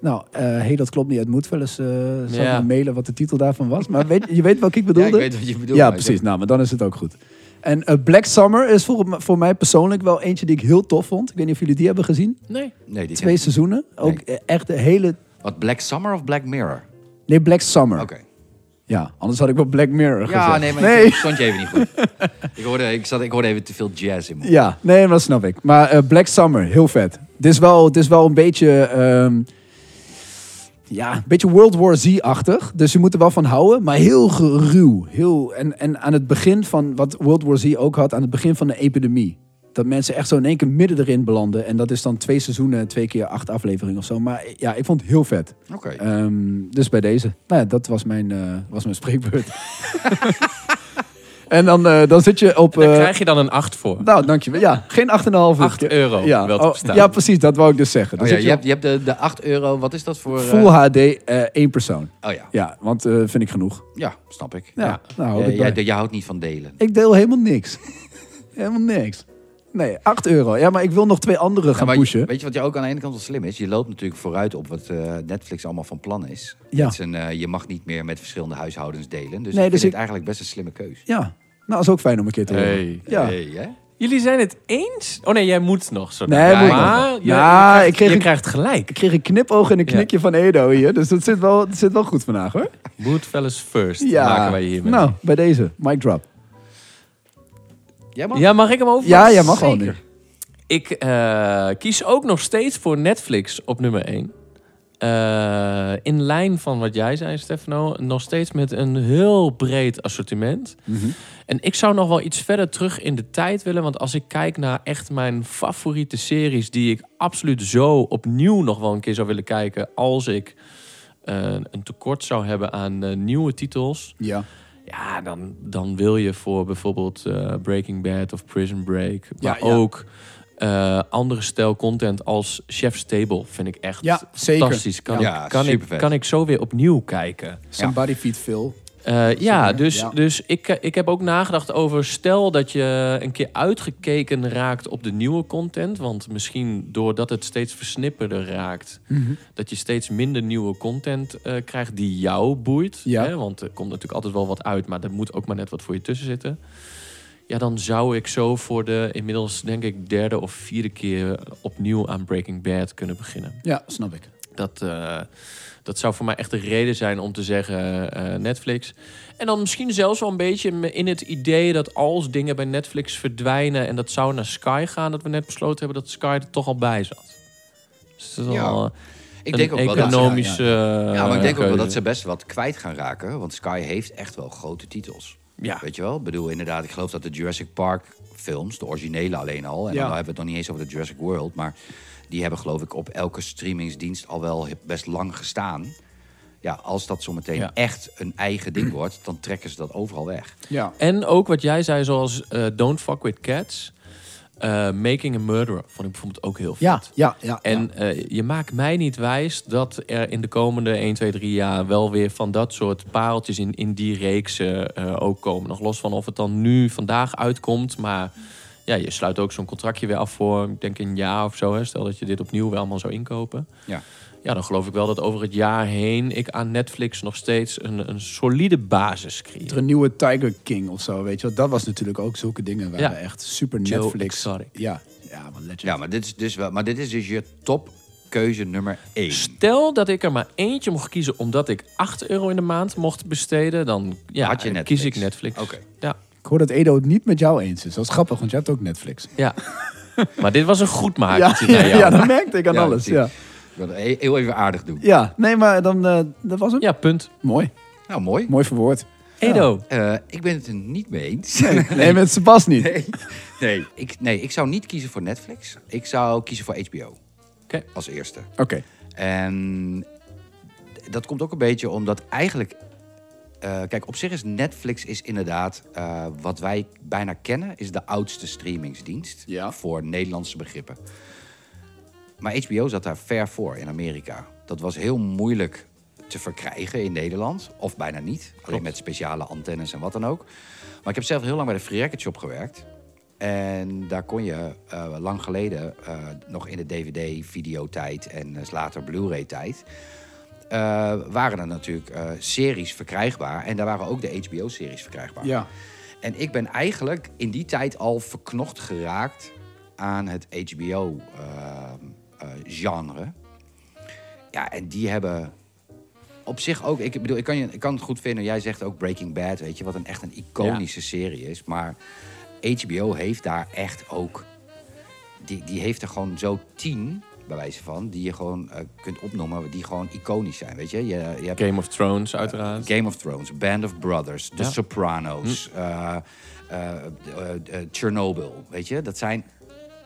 Speaker 4: Nou, eh hey, dat klopt niet. Het moet wel eens eh zal ik
Speaker 3: Ja.
Speaker 4: maar mailen wat de titel daarvan was. Maar weet, je weet welke ik
Speaker 5: Ja,
Speaker 4: bedoelde?
Speaker 5: ik weet wat je bedoelt.
Speaker 4: ja,
Speaker 5: maar ik
Speaker 4: precies. Nou, maar dan is het ook goed. En eh, Black Summer is voor, m- voor mij persoonlijk wel eentje die ik heel tof vond. Ik weet niet of jullie die hebben gezien.
Speaker 3: Nee.
Speaker 5: heb- Nee, die
Speaker 4: Twee seizoenen. Ook eh, echt de hele...
Speaker 5: Wat, Black Summer of Black Mirror?
Speaker 4: Nee, Black Summer.
Speaker 5: Oké.
Speaker 4: Ja, anders had ik wel Black Mirror
Speaker 5: Ja,
Speaker 4: gezegd.
Speaker 5: nee, maar ik stond je even niet goed. ik, hoorde, ik, zat, ik hoorde even te veel jazz in me.
Speaker 4: Ja, nee, dat snap ik. Maar eh, Black Summer, heel vet. Dit is wel, dit is wel een beetje... ehm, ja, een beetje World War Z-achtig. Dus je moet er wel van houden, maar heel ge- ruw. Heel, en, en aan het begin van wat World War Z ook had, aan het begin van de epidemie. Dat mensen echt zo in één keer midden erin belanden. En dat is dan twee seizoenen, twee keer acht afleveringen of zo. Maar eh, ja, ik vond het heel vet.
Speaker 5: Oké. Oh
Speaker 4: Ehm, dus bij deze. Nou ja, dat was mijn, eh, was mijn spreekbeurt. en dan, eh, dan zit je op...
Speaker 3: Daar
Speaker 4: eh,
Speaker 3: krijg je dan een 8 voor.
Speaker 4: nou, dankjewel. Ja, geen 8,5.
Speaker 3: 8 euro
Speaker 4: Ja.
Speaker 3: wel te
Speaker 4: Oh,
Speaker 3: verstaan.
Speaker 4: ja, precies. Dat wou ik dus zeggen.
Speaker 5: Oh
Speaker 4: Dus
Speaker 5: ja, je hebt, je hebt de, de 8 euro, wat is dat voor... eh,
Speaker 4: Full HD, eh, één persoon.
Speaker 5: Oh ja,
Speaker 4: Ja, want eh, vind ik genoeg.
Speaker 5: ja, snap ik.
Speaker 4: Ja, nou, hou
Speaker 5: Eh,
Speaker 4: ik
Speaker 5: jij,
Speaker 4: bij.
Speaker 5: jij houdt niet van delen.
Speaker 4: Ik deel helemaal niks. helemaal niks. Nee, 8 euro. Ja, maar ik wil nog twee andere gaan
Speaker 5: Ja, maar je-
Speaker 4: pushen.
Speaker 5: Weet je wat je ook aan de ene kant wel slim is? Je loopt natuurlijk vooruit op wat eh, Netflix allemaal van plan is.
Speaker 4: Ja.
Speaker 5: Met zijn, eh, je mag niet meer met verschillende huishoudens delen. Dus
Speaker 4: Nee,
Speaker 5: ik
Speaker 4: dus ik-
Speaker 5: vind het eigenlijk best een slimme keus.
Speaker 4: Ja, nou, dat is ook fijn om een keer te horen.
Speaker 3: Hey.
Speaker 4: Ja.
Speaker 5: Hey, hè?
Speaker 3: Jullie zijn het eens? Oh nee, jij moet nog. Zo
Speaker 4: Nee,
Speaker 3: ja,
Speaker 4: moet
Speaker 5: ik
Speaker 3: maar
Speaker 4: nog.
Speaker 3: je,
Speaker 4: Nou,
Speaker 3: je krijgt,
Speaker 4: ik kreeg
Speaker 3: je
Speaker 4: een-
Speaker 3: krijgt gelijk.
Speaker 4: Ik kreeg een knipoog en een knikje van Edo hier. Dus dat zit wel, dat zit wel goed vandaag, hoor.
Speaker 3: Goodfellas first
Speaker 4: Ja.
Speaker 3: maken wij hiermee.
Speaker 4: nou, bij deze. Mic drop.
Speaker 5: Jij mag?
Speaker 3: Ja, mag ik hem over?
Speaker 4: Ja, jij mag wel nu.
Speaker 5: Zeker.
Speaker 3: Ik eh, kies ook nog steeds voor Netflix op nummer 1. in lijn van wat jij zei, Stefano, nog steeds met een heel breed assortiment. En ik zou nog wel iets verder terug in de tijd willen. Want als ik kijk naar echt mijn favoriete series, die ik absoluut zo opnieuw nog wel een keer zou willen kijken. als ik eh, een tekort zou hebben aan eh, nieuwe titels.
Speaker 4: Ja.
Speaker 3: Ja, dan, dan wil je voor bijvoorbeeld eh, Breaking Bad of Prison Break. Maar
Speaker 4: ja.
Speaker 3: ook eh, andere stijl content als Chef's Table vind ik echt
Speaker 4: Ja, zeker.
Speaker 3: fantastisch. Kan,
Speaker 5: Ja,
Speaker 3: ik, kan, ik,
Speaker 5: supervet.
Speaker 3: kan ik zo weer opnieuw kijken.
Speaker 4: Somebody feed Phil.
Speaker 3: Eh, ja,
Speaker 4: Zeker,
Speaker 3: dus,
Speaker 4: ja.
Speaker 3: dus ik, eh, ik heb ook nagedacht over... stel dat je een keer uitgekeken raakt op de nieuwe content... want misschien doordat het steeds versnipperder raakt...
Speaker 4: Mhm.
Speaker 3: dat je steeds minder nieuwe content eh, krijgt die jou boeit.
Speaker 4: Ja.
Speaker 3: Hè? Want er komt natuurlijk altijd wel wat uit... maar er moet ook maar net wat voor je tussen zitten. Ja, dan zou ik zo voor de inmiddels denk ik derde of vierde keer... opnieuw aan Breaking Bad kunnen beginnen.
Speaker 4: Ja, snap ik.
Speaker 3: Dat, eh, dat zou voor mij echt de reden zijn om te zeggen eh, Netflix. En dan misschien zelfs wel een beetje me- in het idee dat als dingen bij Netflix verdwijnen en dat zou naar Sky gaan, dat we net besloten hebben dat Sky er toch al bij zat. Dus dat is
Speaker 5: Ja.
Speaker 3: al eh,
Speaker 5: Ik
Speaker 3: een
Speaker 5: denk ook wel dat ze,
Speaker 3: economische. eh,
Speaker 5: ja, maar ik denk ook wel
Speaker 3: keuze.
Speaker 5: dat ze best wat kwijt gaan raken. Want Sky heeft echt wel grote titels.
Speaker 3: Ja.
Speaker 5: Weet je wel? Ik bedoel, inderdaad, ik geloof dat de Jurassic Park films, de originele alleen al... en
Speaker 4: Ja.
Speaker 5: dan hebben we het nog niet eens over de Jurassic World... maar die hebben geloof ik op elke streamingsdienst al wel he- best lang gestaan. Ja, als dat zometeen
Speaker 3: Ja.
Speaker 5: echt een eigen ding wordt... dan trekken ze dat overal weg.
Speaker 4: Ja.
Speaker 3: En ook wat jij zei, zoals eh, Don't Fuck With Cats. eh, Making a Murderer vond ik bijvoorbeeld ook heel vet.
Speaker 4: Ja, ja, ja.
Speaker 3: En eh, je maakt mij niet wijs dat er in de komende 1, 2, 3 jaar wel weer van dat soort pareltjes in, in die reeks eh, eh, ook komen. Nog los van of het dan nu vandaag uitkomt, maar ja, je sluit ook zo'n contractje weer af voor, ik denk een jaar of zo. Hè. Stel dat je dit opnieuw weer allemaal zou inkopen.
Speaker 5: Ja.
Speaker 3: Ja, dan geloof ik wel dat over het jaar heen ik aan Netflix nog steeds een, een solide basis creëer.
Speaker 4: er een nieuwe Tiger King of zo, weet je wel. Dat was natuurlijk ook zulke dingen waar
Speaker 3: Ja.
Speaker 4: we echt super
Speaker 3: Joe
Speaker 4: Netflix...
Speaker 3: Exotic.
Speaker 4: Ja, ja, maar legend.
Speaker 5: Ja, maar dit is dus, wel, maar dit is dus je topkeuze nummer één.
Speaker 3: Stel dat ik er maar eentje mocht kiezen omdat ik 8 euro in de maand mocht besteden, dan ja,
Speaker 5: Had je
Speaker 3: kies ik
Speaker 5: Netflix.
Speaker 3: Netflix.
Speaker 5: Oké.
Speaker 3: Ja.
Speaker 4: Ik hoor dat Edo het niet met jou eens is. Dat is grappig, want jij hebt ook Netflix.
Speaker 3: Ja. maar dit was een goed
Speaker 4: ja,
Speaker 3: makertje
Speaker 4: ja,
Speaker 3: naar jou.
Speaker 4: ja,
Speaker 3: Ja,
Speaker 4: dat merkte ik aan
Speaker 5: Ja,
Speaker 4: alles. Ja.
Speaker 5: precies. Ik wil het heel heel even aardig doen.
Speaker 4: ja, nee, maar dan, eh, dat was hem.
Speaker 3: punt.
Speaker 4: Mooi,
Speaker 5: Nou, mooi.
Speaker 4: mooi verwoord.
Speaker 3: Edo.
Speaker 5: Eh, ik ben het er niet mee eens.
Speaker 4: Nee, met Sebas niet.
Speaker 5: Nee. Ik, nee, ik zou niet kiezen voor Netflix. Ik zou kiezen voor HBO.
Speaker 3: Oké.
Speaker 5: Als eerste.
Speaker 4: Oké,
Speaker 5: En dat komt ook een beetje omdat eigenlijk... eh, kijk, op zich is Netflix is inderdaad... eh, wat wij bijna kennen, is de oudste streamingsdienst.
Speaker 4: Ja.
Speaker 5: Voor Nederlandse begrippen. Maar HBO zat daar ver voor in Amerika. Dat was heel moeilijk te verkrijgen in Nederland. Of bijna niet. Alleen met speciale antennes en wat dan ook. Maar ik heb zelf heel lang bij de Free Record Shop gewerkt. En daar kon je eh, lang geleden, eh, nog in de DVD-videotijd en eh, later Blu-ray-tijd, eh, waren er natuurlijk eh, series verkrijgbaar. En daar waren ook de HBO-series verkrijgbaar.
Speaker 4: Ja.
Speaker 5: En ik ben eigenlijk in die tijd al verknocht geraakt aan het eh, HBO-genre. ja, en die hebben op zich ook... Ik bedoel, ik kan, je, ik kan het goed vinden. Jij zegt ook Breaking Bad, weet je. Wat een, echt een iconische serie is. Maar HBO heeft daar echt ook... Die, die heeft er gewoon zo tien, bij wijze van... die je gewoon eh, kunt opnoemen, die gewoon iconisch zijn, weet je. Je, je hebt
Speaker 3: Game of Thrones, uiteraard.
Speaker 5: Game of Thrones, Band of Brothers, The
Speaker 3: Ja.
Speaker 5: Sopranos, eh, eh, eh, eh, Chernobyl. Weet je, dat zijn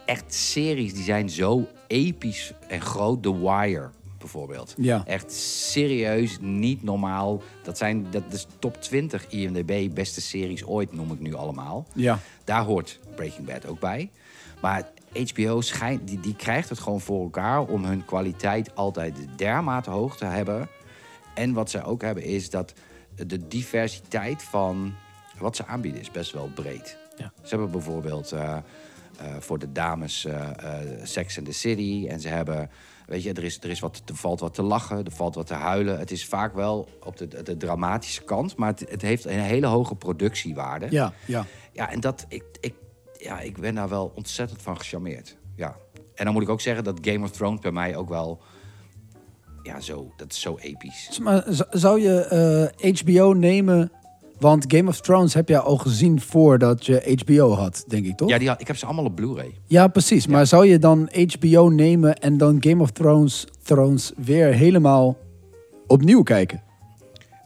Speaker 5: echt series die zijn zo episch en groot. The Wire bijvoorbeeld.
Speaker 4: Ja.
Speaker 5: Echt serieus, niet normaal. Dat zijn dat is top 20 IMDb beste series ooit, noem ik nu allemaal.
Speaker 4: Ja.
Speaker 5: Daar hoort Breaking Bad ook bij. Maar HBO schijnt, die, die krijgt het gewoon voor elkaar om hun kwaliteit altijd dermate hoog te hebben. En wat zij ook hebben is dat de diversiteit van wat ze aanbieden is best wel breed.
Speaker 3: Ja.
Speaker 5: Ze hebben bijvoorbeeld eh, eh, voor de dames eh, eh, Sex and the City. En ze hebben, weet je, er, is, er, is wat, er valt wat te lachen, er valt wat te huilen. Het is vaak wel op de, de dramatische kant, maar het, het heeft een hele hoge productiewaarde.
Speaker 4: Ja, ja.
Speaker 5: Ja, en dat, ik, ik, ja, ik ben daar wel ontzettend van gecharmeerd. Ja. En dan moet ik ook zeggen dat Game of Thrones bij mij ook wel, ja, zo, dat is zo episch.
Speaker 4: Maar z- zou je eh, HBO nemen? Want Game of Thrones heb jij al gezien voordat je HBO had, denk ik toch?
Speaker 5: Ja, die, had- ik heb ze allemaal op Blu-ray.
Speaker 4: Ja, precies. Maar zou je dan HBO nemen en dan Game of Thrones, Thrones weer helemaal opnieuw kijken?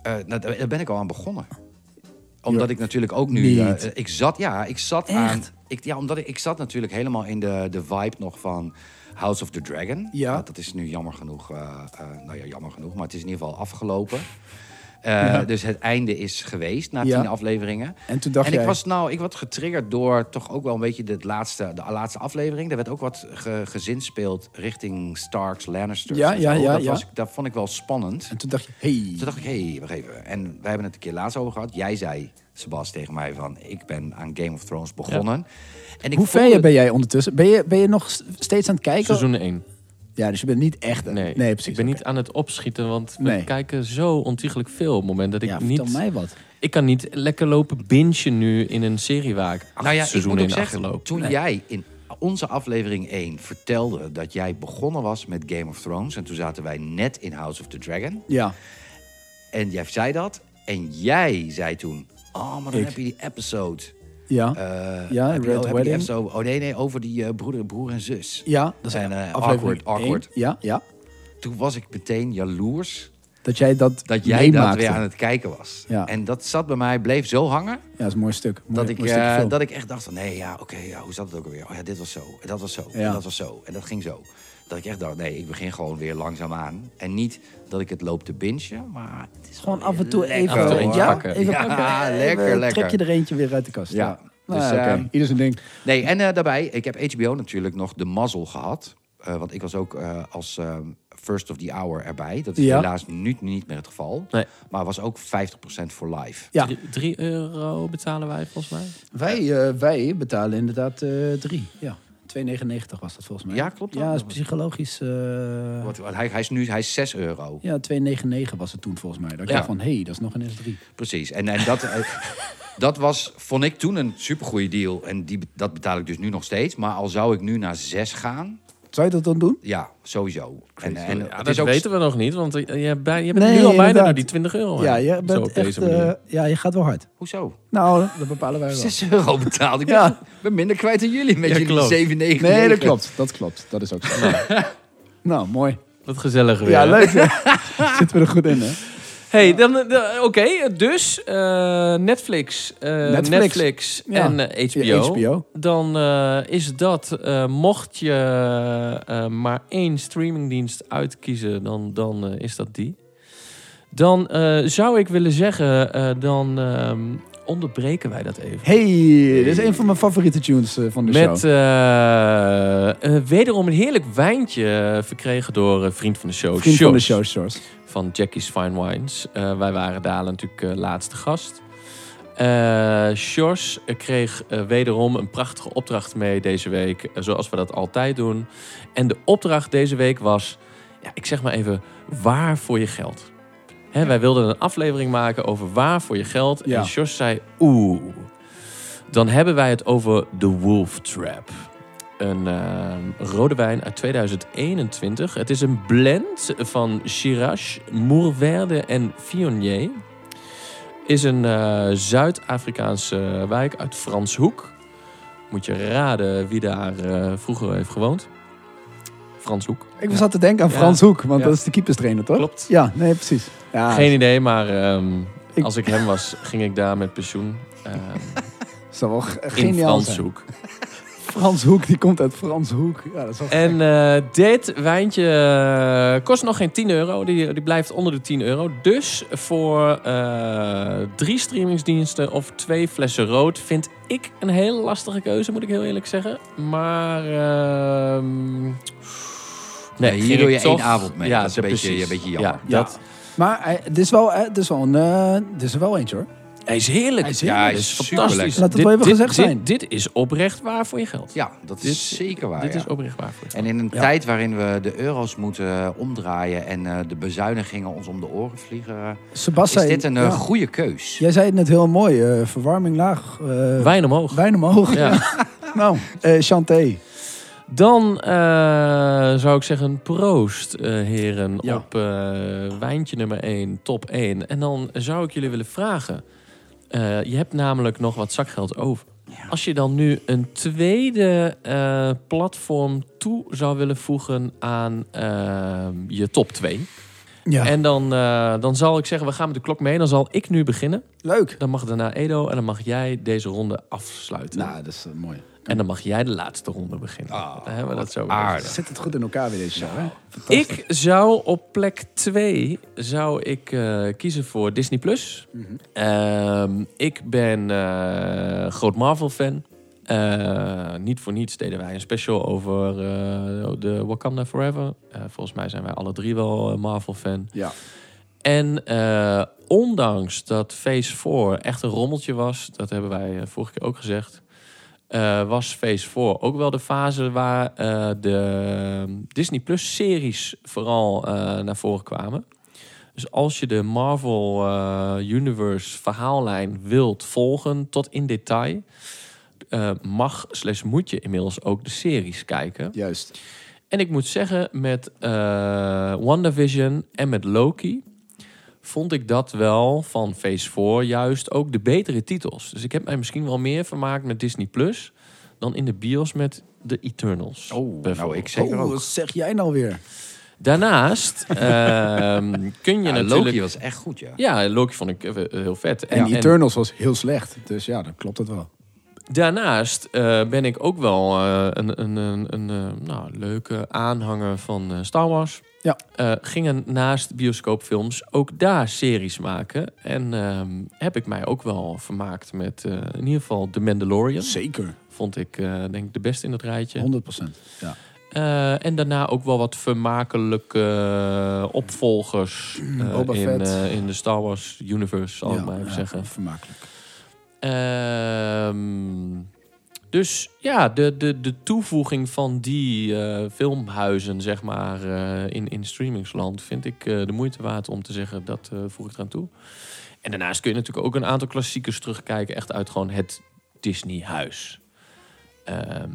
Speaker 5: Eh, nou, daar daar ben ik al aan begonnen. Omdat
Speaker 4: Ja.
Speaker 5: ik natuurlijk ook nu...
Speaker 4: Niet.
Speaker 5: eh, ik zat, ja, ik zat aan... Ik, ja, omdat ik, ik zat natuurlijk helemaal in de, de vibe nog van House of the Dragon.
Speaker 4: Ja.
Speaker 5: dat is nu jammer genoeg... eh, eh, nou ja, jammer genoeg, maar het is in ieder geval afgelopen. Eh, Dus het einde is geweest na
Speaker 4: Ja.
Speaker 5: tien afleveringen.
Speaker 4: En toen dacht
Speaker 5: en
Speaker 4: jij-
Speaker 5: ik was nou, ik werd getriggerd door toch ook wel een beetje de laatste, de laatste aflevering. Er werd ook wat ge, gezinspeeld richting Starks, Lannisters.
Speaker 4: Ja,
Speaker 5: en
Speaker 4: ja,
Speaker 5: zo.
Speaker 4: ja,
Speaker 5: dat,
Speaker 4: ja.
Speaker 5: Was, ik- dat vond ik wel spannend.
Speaker 4: En toen dacht je, hey.
Speaker 5: Toen dacht ik, hé, hey, wacht even. En wij hebben het een keer laatst over gehad. Jij zei, Sebas, tegen mij van... ik ben aan Game of Thrones begonnen. En ik
Speaker 4: Hoe
Speaker 5: voelde-
Speaker 4: ver ben jij ondertussen? Ben je, ben je nog s- steeds aan het kijken?
Speaker 3: Seizoen 1.
Speaker 4: Ja, dus je bent niet echt.
Speaker 3: Nee,
Speaker 4: precies.
Speaker 3: ik ben
Speaker 4: oké.
Speaker 3: niet aan het opschieten, want we
Speaker 4: Nee.
Speaker 3: kijken zo ontiegelijk veel. Op het moment dat ik
Speaker 4: Ja, vertel
Speaker 3: niet...
Speaker 4: mij wat.
Speaker 3: Ik kan niet lekker lopen bingen nu in een serie waar ik acht
Speaker 5: Nou ja, ik moet
Speaker 3: seizoenen
Speaker 5: ook
Speaker 3: in
Speaker 5: zeggen,
Speaker 3: achterloop.
Speaker 5: toen jij in onze aflevering 1 vertelde... dat jij begonnen was met Game of Thrones... en toen zaten wij net in House of the Dragon...
Speaker 4: Ja,
Speaker 5: en jij zei dat... en jij zei toen... oh, maar dan
Speaker 4: Ik.
Speaker 5: heb je die episode...
Speaker 4: ja.
Speaker 5: eh,
Speaker 4: ja,
Speaker 5: heb je-
Speaker 4: Red
Speaker 5: heb je die
Speaker 4: Wedding.
Speaker 5: episode- oh nee, nee, over die eh, broeder, broer en zus.
Speaker 4: Ja, dat
Speaker 5: En,
Speaker 4: zijn
Speaker 5: eh,
Speaker 4: aflevering
Speaker 5: awkward, awkward.
Speaker 4: één. Ja, ja.
Speaker 5: Toen was ik meteen jaloers
Speaker 4: Dat jij dat,
Speaker 5: dat jij dat
Speaker 4: meemaakte.
Speaker 5: weer aan het kijken was.
Speaker 4: Ja.
Speaker 5: En dat zat bij mij, bleef zo hangen.
Speaker 4: Ja, dat is een mooi stuk. Mooi,
Speaker 5: dat, ik,
Speaker 4: mooi stukje
Speaker 5: eh,
Speaker 4: film.
Speaker 5: dat ik echt dacht van, nee, ja, oké, ja, hoe zat het ook alweer? Oh ja, dit was zo, en dat was zo, en
Speaker 4: Ja.
Speaker 5: dat was zo. En dat ging zo. Dat ik echt dacht, nee, ik begin gewoon weer langzaam aan. En niet dat ik het loop te bingen, maar het is
Speaker 4: Gewoon
Speaker 5: wel
Speaker 4: af
Speaker 5: weer
Speaker 4: en toe
Speaker 5: lekker,
Speaker 4: even,
Speaker 3: Af en toe
Speaker 5: hoor.
Speaker 3: eentje
Speaker 4: ja,
Speaker 3: pakken.
Speaker 4: even
Speaker 5: Ja,
Speaker 4: pakken. Even
Speaker 5: lekker,
Speaker 4: Trek
Speaker 5: lekker.
Speaker 4: je er eentje weer uit de kast.
Speaker 5: Ja,
Speaker 4: Ja,
Speaker 5: dus,
Speaker 4: Nou, oké.
Speaker 5: ehm,
Speaker 4: ieder zijn ding.
Speaker 5: Nee, en eh, daarbij, ik heb HBO natuurlijk nog de mazzel gehad. Eh, want ik was ook eh, als eh, first of the hour erbij. Dat is
Speaker 4: Ja.
Speaker 5: helaas nu niet meer het geval.
Speaker 3: Nee.
Speaker 5: Maar was ook 50% voor live.
Speaker 4: Ja,
Speaker 3: 3 euro betalen wij volgens mij.
Speaker 4: wij, eh, wij betalen inderdaad eh, drie. Ja, 2,99 was dat volgens mij.
Speaker 5: Ja, klopt dat?
Speaker 4: Ja, is psychologisch. eh,
Speaker 5: Want hij, hij is nu hij is 6 euro.
Speaker 4: ja, 2,99 was het toen volgens mij. Dat ik
Speaker 5: Ja.
Speaker 4: dacht van, hé, hey, dat is nog een S3.
Speaker 5: Precies. En, en dat, eh, dat was, vond ik toen een supergoeie deal. En die, be- dat betaal ik dus nu nog steeds. Maar al zou ik nu naar zes gaan,
Speaker 4: Zou je dat dan doen?
Speaker 5: ja, sowieso. En, en
Speaker 3: Ja,
Speaker 5: het
Speaker 3: dat
Speaker 5: is ook
Speaker 3: weten we nog niet, want je, je bent nu al bijna
Speaker 4: inderdaad.
Speaker 3: door die 20 euro.
Speaker 4: Ja,
Speaker 3: heen.
Speaker 4: je,
Speaker 3: Zo op
Speaker 4: bent echt,
Speaker 3: deze manier.
Speaker 4: eh, ja, je gaat wel hard.
Speaker 5: Hoezo?
Speaker 4: Nou, dat bepalen wij wel.
Speaker 5: 6 euro betaald. Ik ben-
Speaker 4: Ja.
Speaker 5: ben minder kwijt dan jullie met
Speaker 3: Ja,
Speaker 5: jullie
Speaker 3: klopt.
Speaker 5: 7,99.
Speaker 4: Nee, dat klopt. Dat klopt. Dat is ook zo. nou, mooi.
Speaker 3: Wat gezellig weer.
Speaker 4: Ja,
Speaker 3: hè?
Speaker 4: leuk. hè? Zitten we er goed in, hè?
Speaker 3: Hey, dan, eh, de- oké, dus eh, Netflix, eh, Netflix,
Speaker 4: Netflix. Ja.
Speaker 3: en eh, HBO.
Speaker 4: Ja, HBO.
Speaker 3: Dan eh, is dat, eh, mocht je eh, maar één streamingdienst uitkiezen, dan, dan eh, is dat die. Dan eh, zou ik willen zeggen, eh, dan ehm, onderbreken wij dat even.
Speaker 4: Hey, dit is een van mijn favoriete tunes eh, van de
Speaker 3: Met
Speaker 4: show.
Speaker 3: eh, eh, wederom een heerlijk wijntje eh, verkregen door eh, vriend van de show,
Speaker 4: Vriend van de
Speaker 3: Sjors
Speaker 4: show, Shores.
Speaker 3: van Jackie's Fine Wines. Eh, wij waren daar natuurlijk eh, laatste gast. Eh Sjors eh, kreeg eh, wederom een prachtige opdracht mee deze week, eh, zoals we dat altijd doen. En de opdracht deze week was, ja, ik zeg maar even, waar voor je geld. Hè, Wij wilden een aflevering maken over waar voor je geld.
Speaker 4: Ja.
Speaker 3: En Sjors zei, oeh, dan hebben wij het over The Wolf Trap. Een eh, rode wijn uit 2021. Het is een blend van Shiraz, Moerverde en Viognier is een eh, Zuid-Afrikaanse wijk uit Franshoek. Moet je raden wie daar eh, vroeger heeft gewoond. Franshoek.
Speaker 4: Ik was aan te denken aan
Speaker 3: Ja.
Speaker 4: Frans Hoek, want
Speaker 3: Ja.
Speaker 4: dat is de keeperstrainer, toch?
Speaker 3: Klopt.
Speaker 4: Ja, nee, precies. Ja,
Speaker 3: Geen idee, maar ehm,
Speaker 4: Ik-
Speaker 3: als ik hem was, ging ik daar met pensioen. ehm,
Speaker 4: Zou wel ge-
Speaker 3: in
Speaker 4: geniaal zijn.
Speaker 3: Franshoek.
Speaker 4: Frans Hoek, die komt uit Frans Hoek. Ja, dat is wel
Speaker 3: En eh, dit wijntje eh, kost nog geen 10 euro. Die, die blijft onder de 10 euro. Dus voor eh, drie streamingsdiensten of twee flessen rood vind ik een heel lastige keuze, moet ik heel eerlijk zeggen. Maar. ehm,
Speaker 5: Nee, hier
Speaker 3: ging
Speaker 5: doe
Speaker 3: ik
Speaker 5: je
Speaker 3: toch-
Speaker 5: één avond mee. Dat is een beetje-
Speaker 3: precies.
Speaker 5: een beetje jammer.
Speaker 3: Ja,
Speaker 4: Ja.
Speaker 3: dat,
Speaker 4: Maar eh, dit is wel, eh, dit is wel een, eh, dit is er wel eentje hoor.
Speaker 3: hij is heerlijk.
Speaker 4: Hij is
Speaker 5: Ja, hij
Speaker 3: Dit
Speaker 5: is
Speaker 3: fantastisch.
Speaker 5: superlekker.
Speaker 4: Laat het
Speaker 3: Dit-
Speaker 4: wel even
Speaker 3: dit-
Speaker 4: gezegd
Speaker 3: dit-
Speaker 4: zijn.
Speaker 3: Dit is oprecht waar voor je geld.
Speaker 5: Ja, dat is
Speaker 3: Dit-
Speaker 5: zeker waar.
Speaker 3: Dit
Speaker 5: ja.
Speaker 3: is oprecht waar voor je
Speaker 5: En
Speaker 3: geld.
Speaker 5: in een
Speaker 4: Ja.
Speaker 5: tijd waarin we de euro's moeten omdraaien en eh, de bezuinigingen ons om de oren vliegen, eh,
Speaker 4: Sebastian.
Speaker 5: is dit een eh,
Speaker 4: ja.
Speaker 5: goede keus.
Speaker 4: Jij zei het net heel mooi. eh, verwarming laag. eh,
Speaker 3: Wijn omhoog.
Speaker 4: wijn omhoog.
Speaker 3: Ja.
Speaker 4: nou, eh Chanté.
Speaker 3: Dan eh, zou ik zeggen proost, eh, heren,
Speaker 4: Ja.
Speaker 3: op eh, wijntje nummer 1, top 1. En dan zou ik jullie willen vragen, eh, je hebt namelijk nog wat zakgeld over. Als je dan nu een tweede eh, platform toe zou willen voegen aan eh, je top 2.
Speaker 4: Ja.
Speaker 3: En dan, eh, dan zal ik zeggen, we gaan met de klok mee. Dan zal ik nu beginnen.
Speaker 4: Leuk.
Speaker 3: Dan mag daarna Edo en dan mag jij deze ronde afsluiten.
Speaker 4: Nou, Oh, dat is eh, mooi.
Speaker 3: En dan mag jij de laatste ronde beginnen. Dan hebben we dat zo weer.
Speaker 5: Aardig.
Speaker 4: Zit het goed in elkaar weer deze show, hè? Fantastisch.
Speaker 3: Ik zou op plek 2 zou ik eh, kiezen voor Disney Plus.
Speaker 4: Mhm.
Speaker 3: Ehm, ik ben eh, groot Marvel fan. Eh, niet voor niets deden wij een special over eh, de Wakanda Forever. Eh, volgens mij zijn wij alle drie wel eh, Marvel fan.
Speaker 4: Ja.
Speaker 3: En eh, ondanks dat Phase 4 echt een rommeltje was, dat hebben wij eh, vorige keer ook gezegd, eh, was Phase 4 ook wel de fase waar eh, de Disney Plus series vooral eh, naar voren kwamen. Dus als je de Marvel eh, Universe verhaallijn wilt volgen tot in detail, eh, mag slash moet je inmiddels ook de series kijken.
Speaker 4: Juist.
Speaker 3: En ik moet zeggen, met eh WandaVision en met Loki vond ik dat wel van Phase 4 juist ook de betere titels. Dus ik heb mij misschien wel meer vermaakt met Disney Plus dan in de bios met de Eternals.
Speaker 5: Oh, nou
Speaker 3: bijvoorbeeld.
Speaker 5: ik zeker
Speaker 4: oh,
Speaker 5: ook.
Speaker 4: wat zeg jij nou weer?
Speaker 3: Daarnaast ehm, kun je
Speaker 5: Ja,
Speaker 3: natuurlijk...
Speaker 5: Loki was echt goed, ja.
Speaker 3: Ja, Loki vond ik eh, heel vet.
Speaker 4: En Eternals was heel slecht. Dus ja, dan klopt het wel.
Speaker 3: Daarnaast eh, ben ik ook wel eh, een, een, een, een eh, nou, leuke aanhanger van eh, Star Wars.
Speaker 4: Ja.
Speaker 3: Eh, gingen naast bioscoopfilms ook daar series maken. En ehm, heb ik mij ook wel vermaakt met eh, in ieder geval The Mandalorian.
Speaker 4: Zeker.
Speaker 3: Vond ik eh, denk ik de beste in dat rijtje.
Speaker 4: 100%. Ja.
Speaker 3: Eh, en daarna ook wel wat vermakelijke eh, opvolgers eh,
Speaker 4: Mm, Boba
Speaker 3: in,
Speaker 4: Fett.
Speaker 3: eh, in de Star Wars universe, zal ik maar even
Speaker 4: ja,
Speaker 3: zeggen.
Speaker 4: Vermakelijk.
Speaker 3: Ehm, dus ja, de, de, de toevoeging van die eh, filmhuizen, zeg maar, eh, in, in streamingsland vind ik eh, de moeite waard om te zeggen dat eh, voeg ik eraan toe. En daarnaast kun je natuurlijk ook een aantal klassiekers terugkijken, echt uit gewoon het Disney-huis. Ehm,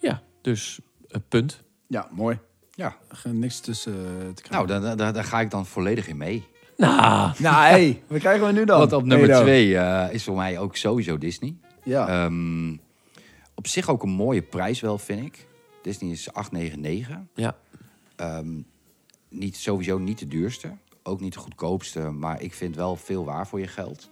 Speaker 3: ja, dus eh, punt.
Speaker 4: Ja, mooi.
Speaker 5: Ja.
Speaker 4: Ge- Niks tussen eh, te krijgen.
Speaker 5: Nou, daar, daar, daar ga ik dan volledig in mee.
Speaker 3: Nou,
Speaker 4: Nou, hé, hey, wat krijgen we nu dan?
Speaker 5: Want op nummer
Speaker 4: Edo.
Speaker 5: twee eh, is voor mij ook sowieso Disney.
Speaker 4: Ja.
Speaker 5: Ehm, op zich ook een mooie prijs wel, vind ik. Disney is 8,99.
Speaker 3: ja,
Speaker 5: Ehm, niet, sowieso niet de duurste. Ook niet de goedkoopste. Maar ik vind wel veel waar voor je geld.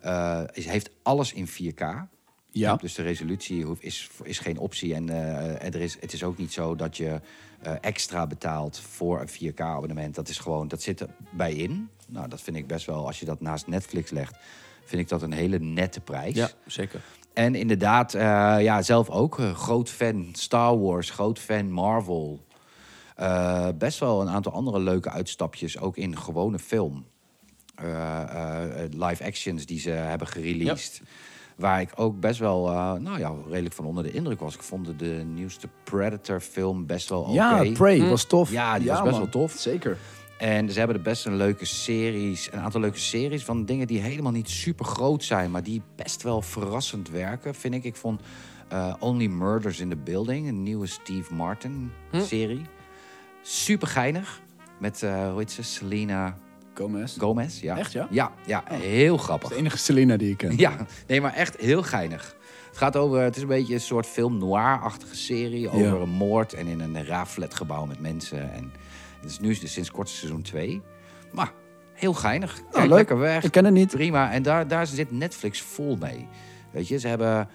Speaker 5: Eh, is heeft alles in 4K.
Speaker 4: ja.
Speaker 5: Dus de resolutie hoeft- is, is geen optie. En eh, er is, het is ook niet zo dat je eh, extra betaalt voor een 4K-abonnement. Dat, is gewoon, dat zit erbij in. Nou, dat vind ik best wel, als je dat naast Netflix legt, vind ik dat een hele nette prijs.
Speaker 3: ja, zeker.
Speaker 5: En inderdaad, eh, ja, zelf ook eh, groot fan Star Wars, groot fan Marvel. Eh, best wel een aantal andere leuke uitstapjes, ook in gewone film. Eh, eh, eh, live actions die ze hebben gereleased. Waar ik ook best wel, eh, nou ja, redelijk van onder de indruk was. Ik vond de nieuwste Predator film best wel oké.
Speaker 4: Ja, Prey was tof.
Speaker 5: Ja, die was best wel tof.
Speaker 4: Zeker.
Speaker 5: En ze hebben er best een leuke series, een aantal leuke series van dingen die helemaal niet super groot zijn, maar die best wel verrassend werken, vind ik. Ik vond eh, Only Murders in the Building, een nieuwe Steve Martin serie. Super geinig. Met, eh, hoe heet ze? Selena
Speaker 4: Gomez.
Speaker 5: Gomez. Ja.
Speaker 4: Echt, ja? Oh.
Speaker 5: Ja, ja heel grappig.
Speaker 4: De enige Selena die ik ken.
Speaker 5: Ja, nee, maar echt heel geinig. Het gaat over, het is een beetje een soort film noir-achtige serie over
Speaker 4: Ja.
Speaker 5: een moord en in een raafflatgebouw met mensen. En het is nu sinds kort seizoen 2. Maar heel geinig. Kijk,
Speaker 4: Nou, leuk.
Speaker 5: lekker weg.
Speaker 4: Ik ken het niet.
Speaker 5: Prima. En daar, daar zit Netflix vol mee. Weet je, ze hebben.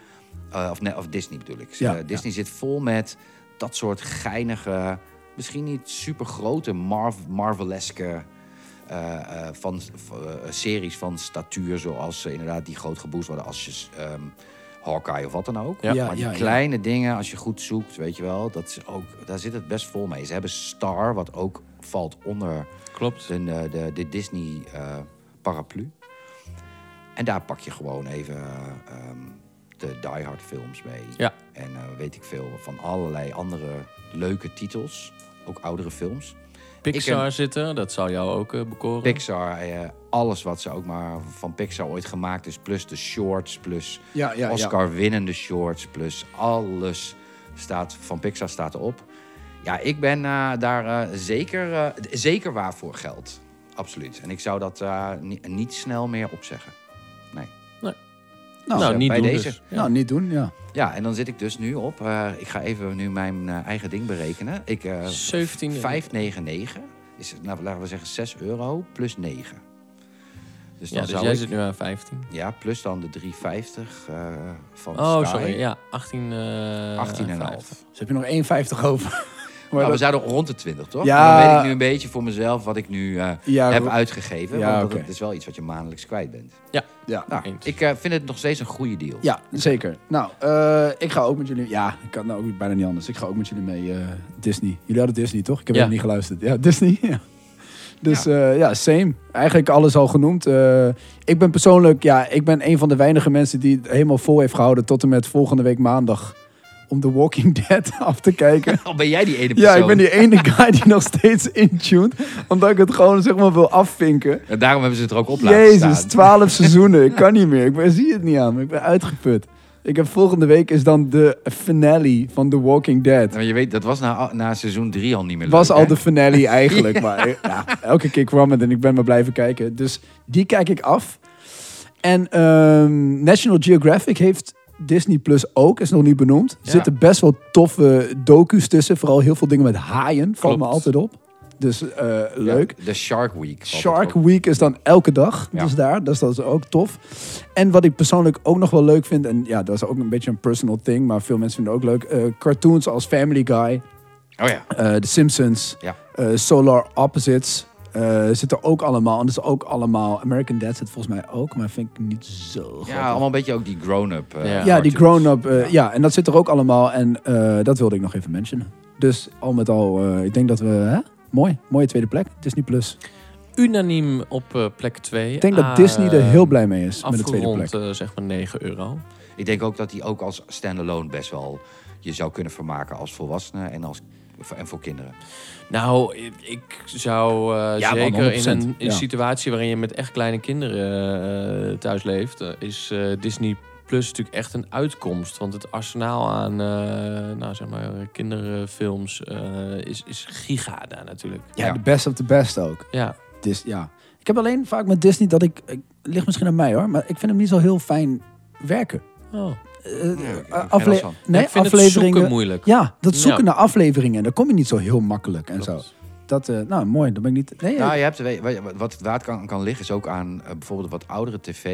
Speaker 5: eh, of, ne- of Disney bedoel ik. Ze-
Speaker 4: Ja,
Speaker 5: eh, Disney zit vol met dat soort geinige. Misschien niet super grote, Marv Marveleske. eh, eh, van, v- eh, series van statuur, zoals eh, inderdaad die groot geboost worden als je s- ehm, Hawkeye of wat dan ook.
Speaker 4: Ja.
Speaker 5: maar die
Speaker 4: Ja, ja, ja.
Speaker 5: kleine dingen, als je goed zoekt, weet je wel, dat is ook, daar zit het best vol mee. Ze hebben Star, wat ook valt onder
Speaker 3: Klopt.
Speaker 5: de, de, de, de Disney eh, paraplu. En daar pak je gewoon even eh, ehm, de Die Hard films mee.
Speaker 3: Ja.
Speaker 5: En eh, weet ik veel van allerlei andere leuke titels. Ook oudere films.
Speaker 3: Pixar zitten, dat zou jou ook eh, bekoren.
Speaker 5: Pixar, eh, alles wat ze ook maar van Pixar ooit gemaakt is. Plus de shorts, plus
Speaker 4: Ja, ja, ja.
Speaker 5: Oscar-winnende shorts, plus alles staat, van Pixar staat erop. Ja, ik ben eh, daar eh, zeker, eh, d- zeker waar voor geld. Absoluut. En ik zou dat eh, ni- niet snel meer opzeggen. Nee.
Speaker 4: Nou,
Speaker 3: nou,
Speaker 5: ja,
Speaker 3: niet
Speaker 5: bij
Speaker 3: doen
Speaker 5: deze.
Speaker 3: dus. Ja.
Speaker 4: Nou, niet doen, ja.
Speaker 5: Ja, en dan zit ik dus nu op. eh, ik ga even nu mijn eh, eigen ding berekenen. Ik, eh,
Speaker 3: 17 euro.
Speaker 5: 5,99 is, nou, laten we zeggen, 6 euro plus 9. Dus
Speaker 3: ja,
Speaker 5: dan
Speaker 3: dus
Speaker 5: zou
Speaker 3: jij
Speaker 5: ik-
Speaker 3: zit nu aan 15.
Speaker 5: Ja, plus dan de 3,50 eh van
Speaker 3: Oh,
Speaker 5: Sky.
Speaker 3: sorry. Ja, 18. eh
Speaker 5: 18,5.
Speaker 4: Dus heb je nog 1,50 over. Maar
Speaker 5: Nou, we
Speaker 4: dat-
Speaker 5: zouden rond de 20, toch?
Speaker 4: Ja.
Speaker 5: Dan weet ik nu een beetje voor mezelf wat ik nu eh,
Speaker 4: Ja,
Speaker 5: heb
Speaker 4: ro-
Speaker 5: uitgegeven.
Speaker 4: Ja,
Speaker 5: want
Speaker 4: oké.
Speaker 5: het is wel iets wat je maandelijks kwijt bent.
Speaker 3: Ja,
Speaker 4: ja.
Speaker 5: Nou,
Speaker 3: Eens.
Speaker 5: ik eh, vind het nog steeds een goede deal.
Speaker 4: ja, zeker. Nou, eh, ik ga ook met jullie... Ja, ik kan nou ook bijna niet anders. Ik ga ook met jullie mee eh, Disney. Jullie hadden Disney, toch? Ik heb
Speaker 3: Ja.
Speaker 4: even niet geluisterd. Ja, Disney, ja. Dus ja. ja, same. Eigenlijk alles al genoemd. Eh, ik ben persoonlijk... Ja, ik ben een van de weinige mensen die het helemaal vol heeft gehouden... tot en met volgende week maandag... om The Walking Dead af te kijken.
Speaker 5: Al ben jij die ene persoon.
Speaker 4: Ja, ik ben die ene guy die nog steeds intuned. Omdat ik het gewoon zeg maar wil afvinken.
Speaker 5: En daarom hebben ze het er ook op laten staan.
Speaker 4: Jezus, twaalf seizoenen. Ik kan niet meer. Ik ben, zie het niet aan me. Ik ben uitgeput. Ik heb, volgende week is dan de finale van The Walking Dead.
Speaker 5: Nou, je weet, dat was na, na seizoen 3 al niet meer
Speaker 4: Was
Speaker 5: leuk,
Speaker 4: al
Speaker 5: hè?
Speaker 4: de finale eigenlijk. Maar eh, ja, elke keer kwam het en ik ben maar blijven kijken. Dus die kijk ik af. En ehm, National Geographic heeft Disney Plus ook, is nog niet benoemd. Er
Speaker 3: Ja.
Speaker 4: zitten best wel toffe docu's tussen. Vooral heel veel dingen met haaien. Valt me
Speaker 3: Klopt.
Speaker 4: altijd op. Dus eh,
Speaker 5: Ja,
Speaker 4: leuk.
Speaker 5: de Shark Week. valt het
Speaker 4: Shark
Speaker 5: op.
Speaker 4: Week is dan elke dag.
Speaker 5: Ja.
Speaker 4: Dus daar, dus dat is ook tof. En wat ik persoonlijk ook nog wel leuk vind, en ja, dat is ook een beetje een personal thing, maar veel mensen vinden het ook leuk. eh, cartoons als Family Guy,
Speaker 5: Oh ja.
Speaker 4: eh, The Simpsons,
Speaker 5: Ja.
Speaker 4: eh, Solar Opposites. eh zitten ook allemaal. En dat is ook allemaal. American Dad zit volgens mij ook, maar vind ik niet zo. grappig.
Speaker 5: ja, allemaal een beetje ook die grown-up. eh,
Speaker 3: Ja. Ja,
Speaker 4: Ja, die
Speaker 5: cartoons.
Speaker 4: grown-up. eh, ja. en dat zit er ook allemaal. En eh, dat wilde ik nog even mentionen. Dus al met al, eh, ik denk dat we. Hè? Mooi, mooie tweede plek. Disney Plus.
Speaker 3: Unaniem op eh, plek 2.
Speaker 4: Ik denk dat
Speaker 5: Ah,
Speaker 4: Disney er heel blij mee is met de tweede plek.
Speaker 3: Afgerond, eh, zeg maar 9 euro.
Speaker 5: Ik denk ook dat die ook als standalone best wel je zou kunnen vermaken als volwassenen en, als, en voor kinderen.
Speaker 3: Nou, ik, ik zou eh,
Speaker 5: Ja, man,
Speaker 3: zeker in
Speaker 4: 100%,
Speaker 3: een, in een
Speaker 4: ja.
Speaker 3: situatie waarin je met echt kleine kinderen eh, thuis leeft, eh, is eh, Disney Plus natuurlijk echt een uitkomst. Want het arsenaal aan eh, nou, zeg maar, eh, kinderfilms eh, is, is giga daar natuurlijk.
Speaker 4: Ja,
Speaker 5: Ja.
Speaker 4: de best of the best ook.
Speaker 3: Ja,
Speaker 4: Dis, ja. Ik heb alleen vaak met Disney dat ik, ik... Ligt misschien aan mij hoor, maar ik vind hem niet zo heel fijn werken.
Speaker 3: oh.
Speaker 4: Eh,
Speaker 5: ik heb
Speaker 4: eh,
Speaker 5: er geen
Speaker 4: afle
Speaker 5: last van.
Speaker 4: nee,
Speaker 3: ik vind het zoeken
Speaker 4: afleveringen...
Speaker 3: moeilijk.
Speaker 4: ja, dat zoeken
Speaker 3: Ja.
Speaker 4: naar afleveringen. Daar kom je niet zo heel makkelijk en
Speaker 3: Klopt.
Speaker 4: zo. Dat, eh, nou, mooi. Dan ben ik niet... Nee,
Speaker 5: Nou,
Speaker 4: ik-
Speaker 5: je hebt, weet je, wat het waard kan, kan liggen is ook aan eh, bijvoorbeeld wat oudere tv.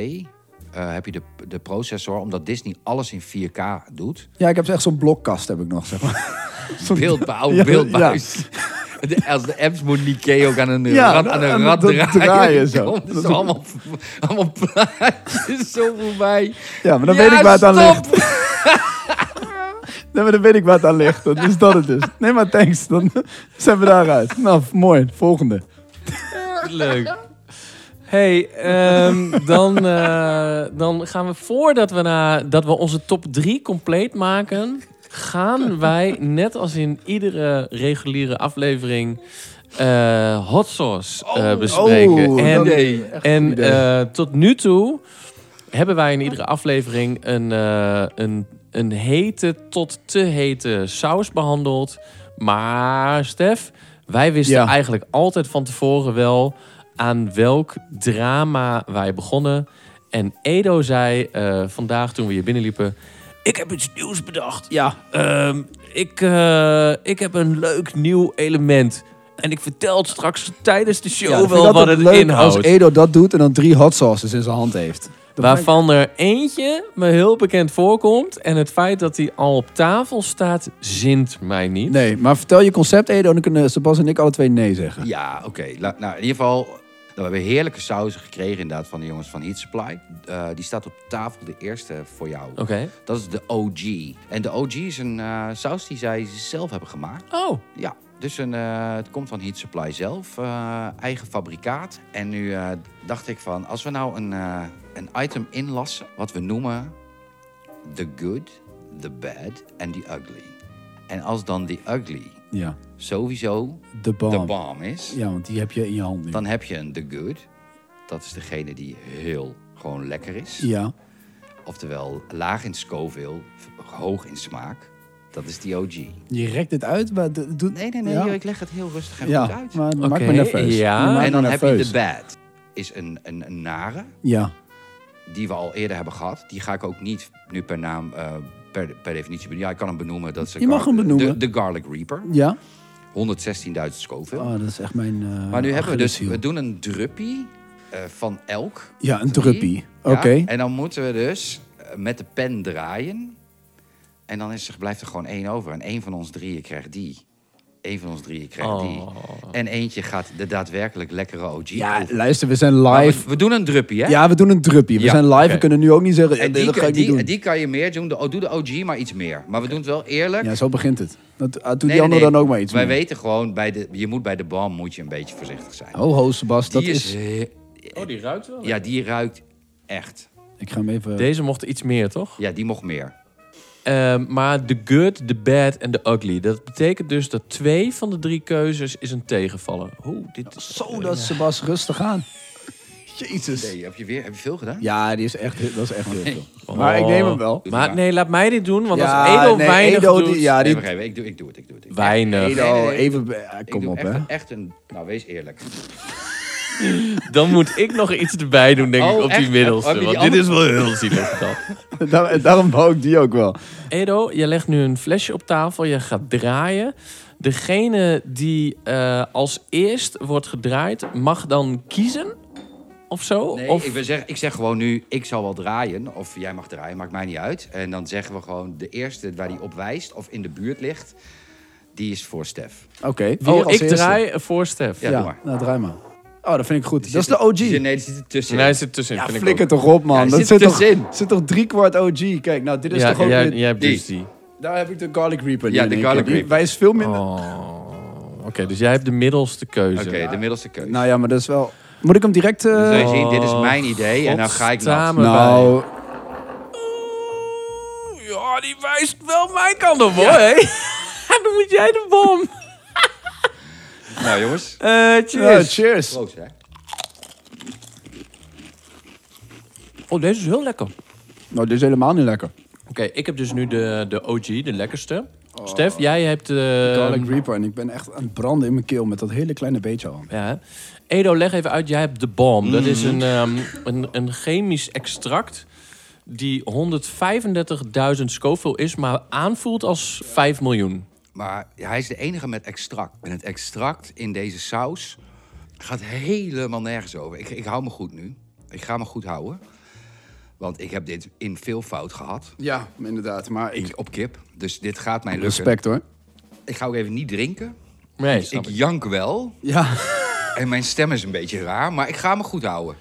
Speaker 5: eh, heb je de, de processor, omdat Disney alles in 4K doet.
Speaker 4: ja, ik heb echt zo'n blokkast heb ik nog, zeg maar. Zo'n-
Speaker 5: Beeldbouw,
Speaker 4: Ja,
Speaker 5: beeldbuis. De, als de apps moet Nikkei ook aan een
Speaker 4: Ja,
Speaker 5: rad, aan
Speaker 4: aan
Speaker 5: een rad
Speaker 4: dat
Speaker 5: draaien.
Speaker 4: draaien zo.
Speaker 5: Dan komt er allemaal, allemaal plaatjes zo voorbij.
Speaker 4: Ja, maar dan weet ik waar het aan ligt.
Speaker 5: stop!
Speaker 4: Nee, maar dan weet ik waar het aan ligt. Dat is dat het is. Nee, maar thanks. Dan zijn we daaruit. Nou, mooi. Volgende.
Speaker 3: Leuk. hey, ehm, dan, eh, dan gaan we voordat we, naar, dat we onze top 3 compleet maken... gaan wij, net als in iedere reguliere aflevering... eh, hot sauce eh, bespreken. en
Speaker 4: nee.
Speaker 3: en
Speaker 4: idee.
Speaker 3: eh, tot nu toe hebben wij in iedere aflevering een, eh, een, een hete tot te hete saus behandeld. Maar Stef, wij wisten
Speaker 4: Ja.
Speaker 3: eigenlijk altijd van tevoren wel aan welk drama wij begonnen. En Edo zei eh, vandaag toen we hier binnenliepen... Ik heb iets nieuws bedacht.
Speaker 4: Ja.
Speaker 3: Ehm, ik, eh, ik heb een leuk nieuw element. En ik vertel het straks tijdens de show
Speaker 4: Ja, ik vind
Speaker 3: wel
Speaker 4: dat
Speaker 3: wat
Speaker 4: ook
Speaker 3: het
Speaker 4: leuk
Speaker 3: inhoudt.
Speaker 4: Als Edo dat doet en dan drie hot sauces in zijn hand heeft. Dat
Speaker 3: Waarvan er eentje me heel bekend voorkomt. En het feit dat hij al op tafel staat, zint mij niet.
Speaker 4: Nee, maar vertel je concept, Edo, en dan kunnen Sebastian en ik alle twee nee zeggen.
Speaker 5: Ja, oké. La- Nou, in ieder geval, nou, we hebben heerlijke sauzen gekregen inderdaad van de jongens van Heat Supply. Eh, die staat op tafel, de eerste voor jou.
Speaker 3: Oké.
Speaker 5: Dat is de OG. En de OG is een eh, saus die zij zelf hebben gemaakt.
Speaker 3: Oh,
Speaker 5: Ja, dus een, eh, het komt van Heat Supply zelf, eh, eigen fabrikaat. En nu eh, dacht ik van, als we nou een, eh, een item inlassen, wat we noemen the good, the bad en the ugly. En als dan the ugly
Speaker 4: Ja,
Speaker 5: sowieso
Speaker 4: de
Speaker 5: de
Speaker 4: bom.
Speaker 5: bomb is,
Speaker 4: Ja, want die heb je in je hand nu.
Speaker 5: dan heb je een the good. Dat is degene die heel gewoon lekker is.
Speaker 4: Ja,
Speaker 5: Oftewel laag in scoville, hoog in smaak. Dat is die OG.
Speaker 4: je rekt het uit, maar doet...
Speaker 5: Nee, nee, nee,
Speaker 4: Ja.
Speaker 5: hier, ik leg het heel rustig en
Speaker 4: Ja,
Speaker 5: goed uit.
Speaker 4: maar het maakt
Speaker 3: Oké,
Speaker 4: me nerveus.
Speaker 3: ja.
Speaker 4: Je maakt
Speaker 5: en
Speaker 4: me
Speaker 5: dan heb je
Speaker 4: nerveus.
Speaker 5: de bad. Is een, een, een nare,
Speaker 4: Ja,
Speaker 5: die we al eerder hebben gehad. Die ga ik ook niet nu per naam, eh, per, per definitie benoemen. Ja, ik kan hem benoemen. Dat is de
Speaker 4: Je mag
Speaker 5: gar-
Speaker 4: hem benoemen.
Speaker 5: De, de Garlic Reaper.
Speaker 4: ja.
Speaker 5: 116.000 scoville.
Speaker 4: Oh, dat is echt mijn... eh,
Speaker 5: maar nu hebben we dus,
Speaker 4: Achilleshiel.
Speaker 5: we doen een druppie eh, van elk.
Speaker 4: Ja, een
Speaker 5: Drie.
Speaker 4: druppie.
Speaker 5: Ja,
Speaker 4: Oké.
Speaker 5: En dan moeten we dus eh, met de pen draaien. En dan is er, blijft er gewoon één over. En één van ons drieën krijgt die. Eén van ons drieën krijgt die. En eentje gaat de daadwerkelijk lekkere OG
Speaker 4: Oh. Ja,
Speaker 5: proeven.
Speaker 4: luister, we zijn
Speaker 5: Maar
Speaker 4: live.
Speaker 5: we, we doen een druppie, hè?
Speaker 4: Ja, we doen een druppie. We
Speaker 5: Ja,
Speaker 4: zijn live,
Speaker 3: oké.
Speaker 4: we kunnen nu ook niet zeggen... nee,
Speaker 5: En die,
Speaker 4: dat ga
Speaker 5: kan-
Speaker 4: ik niet
Speaker 5: die,
Speaker 4: doen.
Speaker 5: die kan je meer doen. De, oh, doe de OG maar iets meer. Maar we doen het wel eerlijk.
Speaker 4: Ja, zo begint het. Dat, ah, doe
Speaker 5: Nee,
Speaker 4: die
Speaker 5: nee,
Speaker 4: ander
Speaker 5: nee.
Speaker 4: dan ook maar iets
Speaker 5: Wij
Speaker 4: mee.
Speaker 5: weten gewoon, bij de, je moet bij de bom moet je een beetje voorzichtig zijn.
Speaker 4: Ho, ho, Sebas, Oh, dat
Speaker 5: die
Speaker 4: is...
Speaker 5: is...
Speaker 3: oh die ruikt wel.
Speaker 5: Ja, die ruikt echt.
Speaker 4: Ik ga hem even...
Speaker 3: Deze mocht iets meer, toch?
Speaker 5: Ja, die mocht meer.
Speaker 3: Ehm, maar de good, de bad en de ugly. Dat betekent dus dat twee van de drie keuzes is een tegenvaller. Oeh, dit is...
Speaker 4: Zo, dat is Sebas rustig aan. Jezus.
Speaker 5: Nee, heb je, weer, heb je veel gedaan?
Speaker 4: Ja, die is echt, dat is echt heel veel. Maar ik neem hem wel.
Speaker 3: Maar nee, laat mij dit doen, want
Speaker 4: Ja,
Speaker 3: als Oh. Edo
Speaker 4: nee,
Speaker 3: weinig
Speaker 4: Edo,
Speaker 3: doet...
Speaker 4: die- ja,
Speaker 5: Nee,
Speaker 4: die,
Speaker 5: wacht even, ik doe, ik doe het, ik doe het. Ik,
Speaker 3: Weinig.
Speaker 4: Edo,
Speaker 5: nee, nee.
Speaker 4: even... eh,
Speaker 5: ik
Speaker 4: kom
Speaker 5: doe
Speaker 4: op,
Speaker 5: echt,
Speaker 4: hè.
Speaker 5: echt een... Nou, wees eerlijk.
Speaker 3: Dan moet ik nog iets erbij doen, denk
Speaker 5: Oh,
Speaker 3: ik, op die
Speaker 5: echt?
Speaker 3: middelste.
Speaker 5: Heb je die
Speaker 3: Want dit
Speaker 5: andere-
Speaker 3: is wel heel zielig. dan.
Speaker 4: Daar- daarom wou ik die ook wel.
Speaker 3: Edo, je legt nu een flesje op tafel, je gaat draaien. Degene die eh, als eerst wordt gedraaid, mag dan kiezen of zo?
Speaker 5: Nee,
Speaker 3: of...
Speaker 5: ik, wil zeggen, ik zeg gewoon nu, ik zal wel draaien. Of jij mag draaien, maakt mij niet uit. En dan zeggen we gewoon, de eerste waar die op wijst of in de buurt ligt... die is voor Stef.
Speaker 4: Oké.
Speaker 3: Wie
Speaker 4: weer
Speaker 3: ik
Speaker 4: Oh, als eerste.
Speaker 3: draai voor Stef.
Speaker 5: Ja.
Speaker 4: Ja,
Speaker 5: doe maar.
Speaker 4: nou, draai maar. Oh, dat vind ik goed.
Speaker 5: Die
Speaker 4: Dat is
Speaker 5: zit
Speaker 4: de
Speaker 5: er- die zit-
Speaker 4: OG.
Speaker 5: Nee, die zit er tussenin.
Speaker 3: En hij zit tussenin,
Speaker 4: Ja,
Speaker 3: vind ik
Speaker 4: flikker
Speaker 3: ook.
Speaker 4: toch op, man.
Speaker 5: Ja,
Speaker 4: Dat
Speaker 5: zit
Speaker 4: zit toch,
Speaker 5: tussenin.
Speaker 4: zit toch driekwart OG. Kijk, nou, dit is
Speaker 3: ja,
Speaker 4: toch ook...
Speaker 3: jij,
Speaker 4: weer-
Speaker 3: jij hebt
Speaker 5: die.
Speaker 3: dus die.
Speaker 4: Daar heb ik de Garlic Reaper. nu
Speaker 5: Ja,
Speaker 4: in
Speaker 5: de
Speaker 4: één
Speaker 5: Garlic
Speaker 4: keer. Die-
Speaker 5: Reaper.
Speaker 4: Wij is veel minder...
Speaker 3: Oh, Oké, dus jij hebt de middelste keuze.
Speaker 5: Oké, de middelste keuze.
Speaker 4: Nou ja, maar dat is wel... Moet ik hem direct... eh,
Speaker 5: Zul je zien, dit is mijn idee en dan ga ik nat.
Speaker 3: Godsamme.
Speaker 4: Nou,
Speaker 3: Oeh, Ja, die wijst wel mijn kant op, hoor. hè? dan moet jij de bom.
Speaker 5: Nou jongens,
Speaker 3: Eh
Speaker 4: ja,
Speaker 3: cheers.
Speaker 4: cheers.
Speaker 5: proost hè.
Speaker 3: Oh, deze is heel lekker.
Speaker 4: Nou, dit is helemaal niet lekker.
Speaker 3: Oké, ik heb dus nu de, de OG, de lekkerste. Stef, jij hebt eh, de...
Speaker 5: Ehm,
Speaker 4: Garlic Reaper. En Oh. ik ben echt aan het branden in mijn keel met dat hele kleine beetje al.
Speaker 3: Ja. Edo, leg even uit. Jij hebt de bomb. Dat is een, ehm, een, een chemisch extract die 135.000 Scoville is, maar aanvoelt als 5 miljoen.
Speaker 5: Maar hij is de enige met extract. En het extract in deze saus gaat helemaal nergens over. Ik, ik hou me goed nu. Ik ga me goed houden. Want ik heb dit in veel fout gehad.
Speaker 4: Ja, inderdaad. Maar
Speaker 5: Ik, op kip. Dus dit gaat mij lukken.
Speaker 4: Respect hoor.
Speaker 5: Ik ga ook even niet drinken.
Speaker 3: Nee,
Speaker 5: Ik
Speaker 3: snap ik.
Speaker 5: jank wel.
Speaker 4: Ja.
Speaker 5: En mijn stem is een beetje raar. Maar ik ga me goed houden.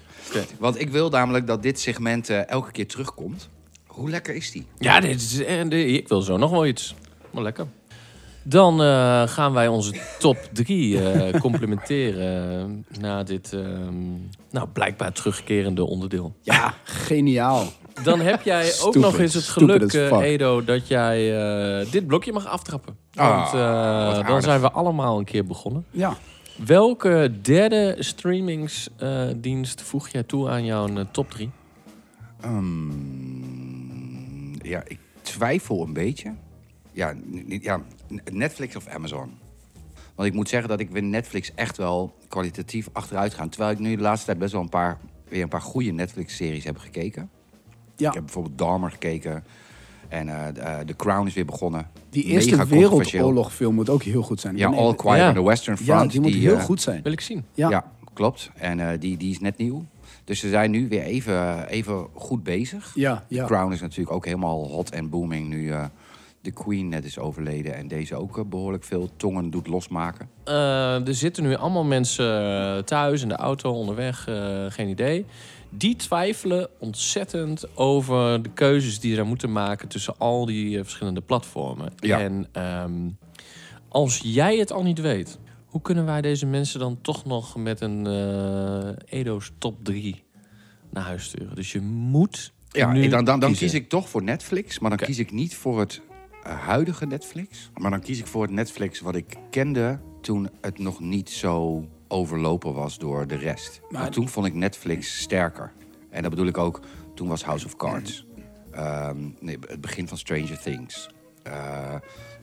Speaker 5: Want ik wil namelijk dat dit segment eh, elke keer terugkomt. Hoe lekker is die?
Speaker 3: eh, Ja, dit is, en de- ik wil zo nog wel iets. Maar lekker. Dan eh, gaan wij onze top drie eh, complementeren na dit ehm, nou, blijkbaar terugkerende onderdeel.
Speaker 4: Ja, geniaal.
Speaker 3: Dan heb jij ook
Speaker 4: Stupid.
Speaker 3: nog eens het
Speaker 4: Stupid
Speaker 3: geluk,
Speaker 4: as
Speaker 3: eh,
Speaker 4: fuck.
Speaker 3: Edo, dat jij eh, dit blokje mag aftrappen.
Speaker 5: Ah,
Speaker 3: Want eh,
Speaker 5: wat
Speaker 3: dan
Speaker 5: aardig.
Speaker 3: zijn we allemaal een keer begonnen.
Speaker 4: Ja.
Speaker 3: Welke derde streamingsdienst eh, voeg jij toe aan jouw eh, top 3?
Speaker 5: Ehm, ja, ik twijfel een beetje. Ja, n- niet- ja, n- Netflix of Amazon. Want ik moet zeggen dat ik weer Netflix echt wel kwalitatief achteruit ga. Terwijl ik nu de laatste tijd best wel een paar, weer een paar goede Netflix-series heb gekeken.
Speaker 4: ja.
Speaker 5: Ik heb bijvoorbeeld Dahmer gekeken. En eh, d- eh, The Crown is weer begonnen.
Speaker 4: Die
Speaker 5: Mega
Speaker 4: Eerste
Speaker 5: controversieel.
Speaker 4: Wereldoorlogfilm moet ook heel goed zijn. Ik
Speaker 5: Ja,
Speaker 4: ben
Speaker 5: All
Speaker 4: even-
Speaker 5: Quiet
Speaker 3: Ja.
Speaker 5: on the Western Front.
Speaker 4: Ja, die moet heel
Speaker 5: eh,
Speaker 4: goed zijn.
Speaker 3: Wil ik zien.
Speaker 4: Ja.
Speaker 5: Ja, klopt. En eh, die, die is net nieuw. Dus ze zijn nu weer even, eh, even goed bezig.
Speaker 4: Ja,
Speaker 5: The
Speaker 4: ja.
Speaker 5: Crown is natuurlijk ook helemaal hot en booming nu eh, de Queen net is overleden. En deze ook eh, behoorlijk veel tongen doet losmaken.
Speaker 3: Eh, er zitten nu allemaal mensen eh, thuis, in de auto, onderweg, eh, geen idee. Die twijfelen ontzettend over de keuzes die ze moeten maken tussen al die eh, verschillende platformen.
Speaker 5: Ja.
Speaker 3: En ehm, als jij het al niet weet, hoe kunnen wij deze mensen dan toch nog met een eh, Edo's top 3 naar huis sturen? Dus je moet.
Speaker 5: Ja,
Speaker 3: nu
Speaker 5: en dan, dan, dan
Speaker 3: kiezen.
Speaker 5: kies ik toch voor Netflix. Maar dan kies ik niet voor het eh, huidige Netflix. Maar dan kies ik voor het Netflix wat ik kende toen het nog niet zo overlopen was door de rest. Maar toen vond ik Netflix sterker. En dat bedoel ik ook, toen was House of Cards. Ehm, nee, het begin van Stranger Things. Eh,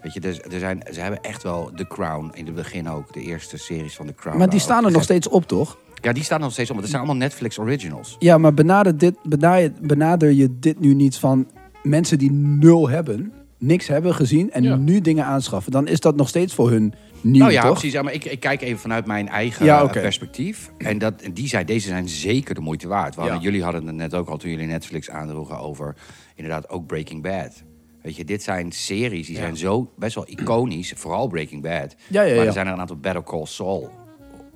Speaker 5: weet je, er, er zijn, ze hebben echt wel The Crown in het begin ook. De eerste series van The Crown.
Speaker 4: Maar
Speaker 5: daar
Speaker 4: die
Speaker 5: ook
Speaker 4: staan er nog
Speaker 5: gek-
Speaker 4: steeds op, toch?
Speaker 5: Ja, die staan er nog steeds op. Want het zijn allemaal Netflix originals.
Speaker 4: Ja, maar benader, dit, benader, benader je dit nu niet van mensen die nul hebben, niks hebben gezien en
Speaker 3: Ja.
Speaker 4: nu dingen aanschaffen. Dan is dat nog steeds voor hun nieuw,
Speaker 5: Nou ja,
Speaker 4: toch?
Speaker 5: precies. Ja, maar ik, ik kijk even vanuit mijn eigen
Speaker 4: Ja,
Speaker 5: eh,
Speaker 4: oké.
Speaker 5: perspectief. En, dat, en die zei, deze zijn zeker de moeite waard. Want
Speaker 4: Ja.
Speaker 5: Jullie hadden het net ook al toen jullie Netflix aandroegen over inderdaad ook Breaking Bad. Weet je, dit zijn series die zijn zo best wel iconisch. Vooral Breaking Bad.
Speaker 4: Ja, ja,
Speaker 5: maar
Speaker 4: ja.
Speaker 5: er zijn er een aantal Battle Call Saul.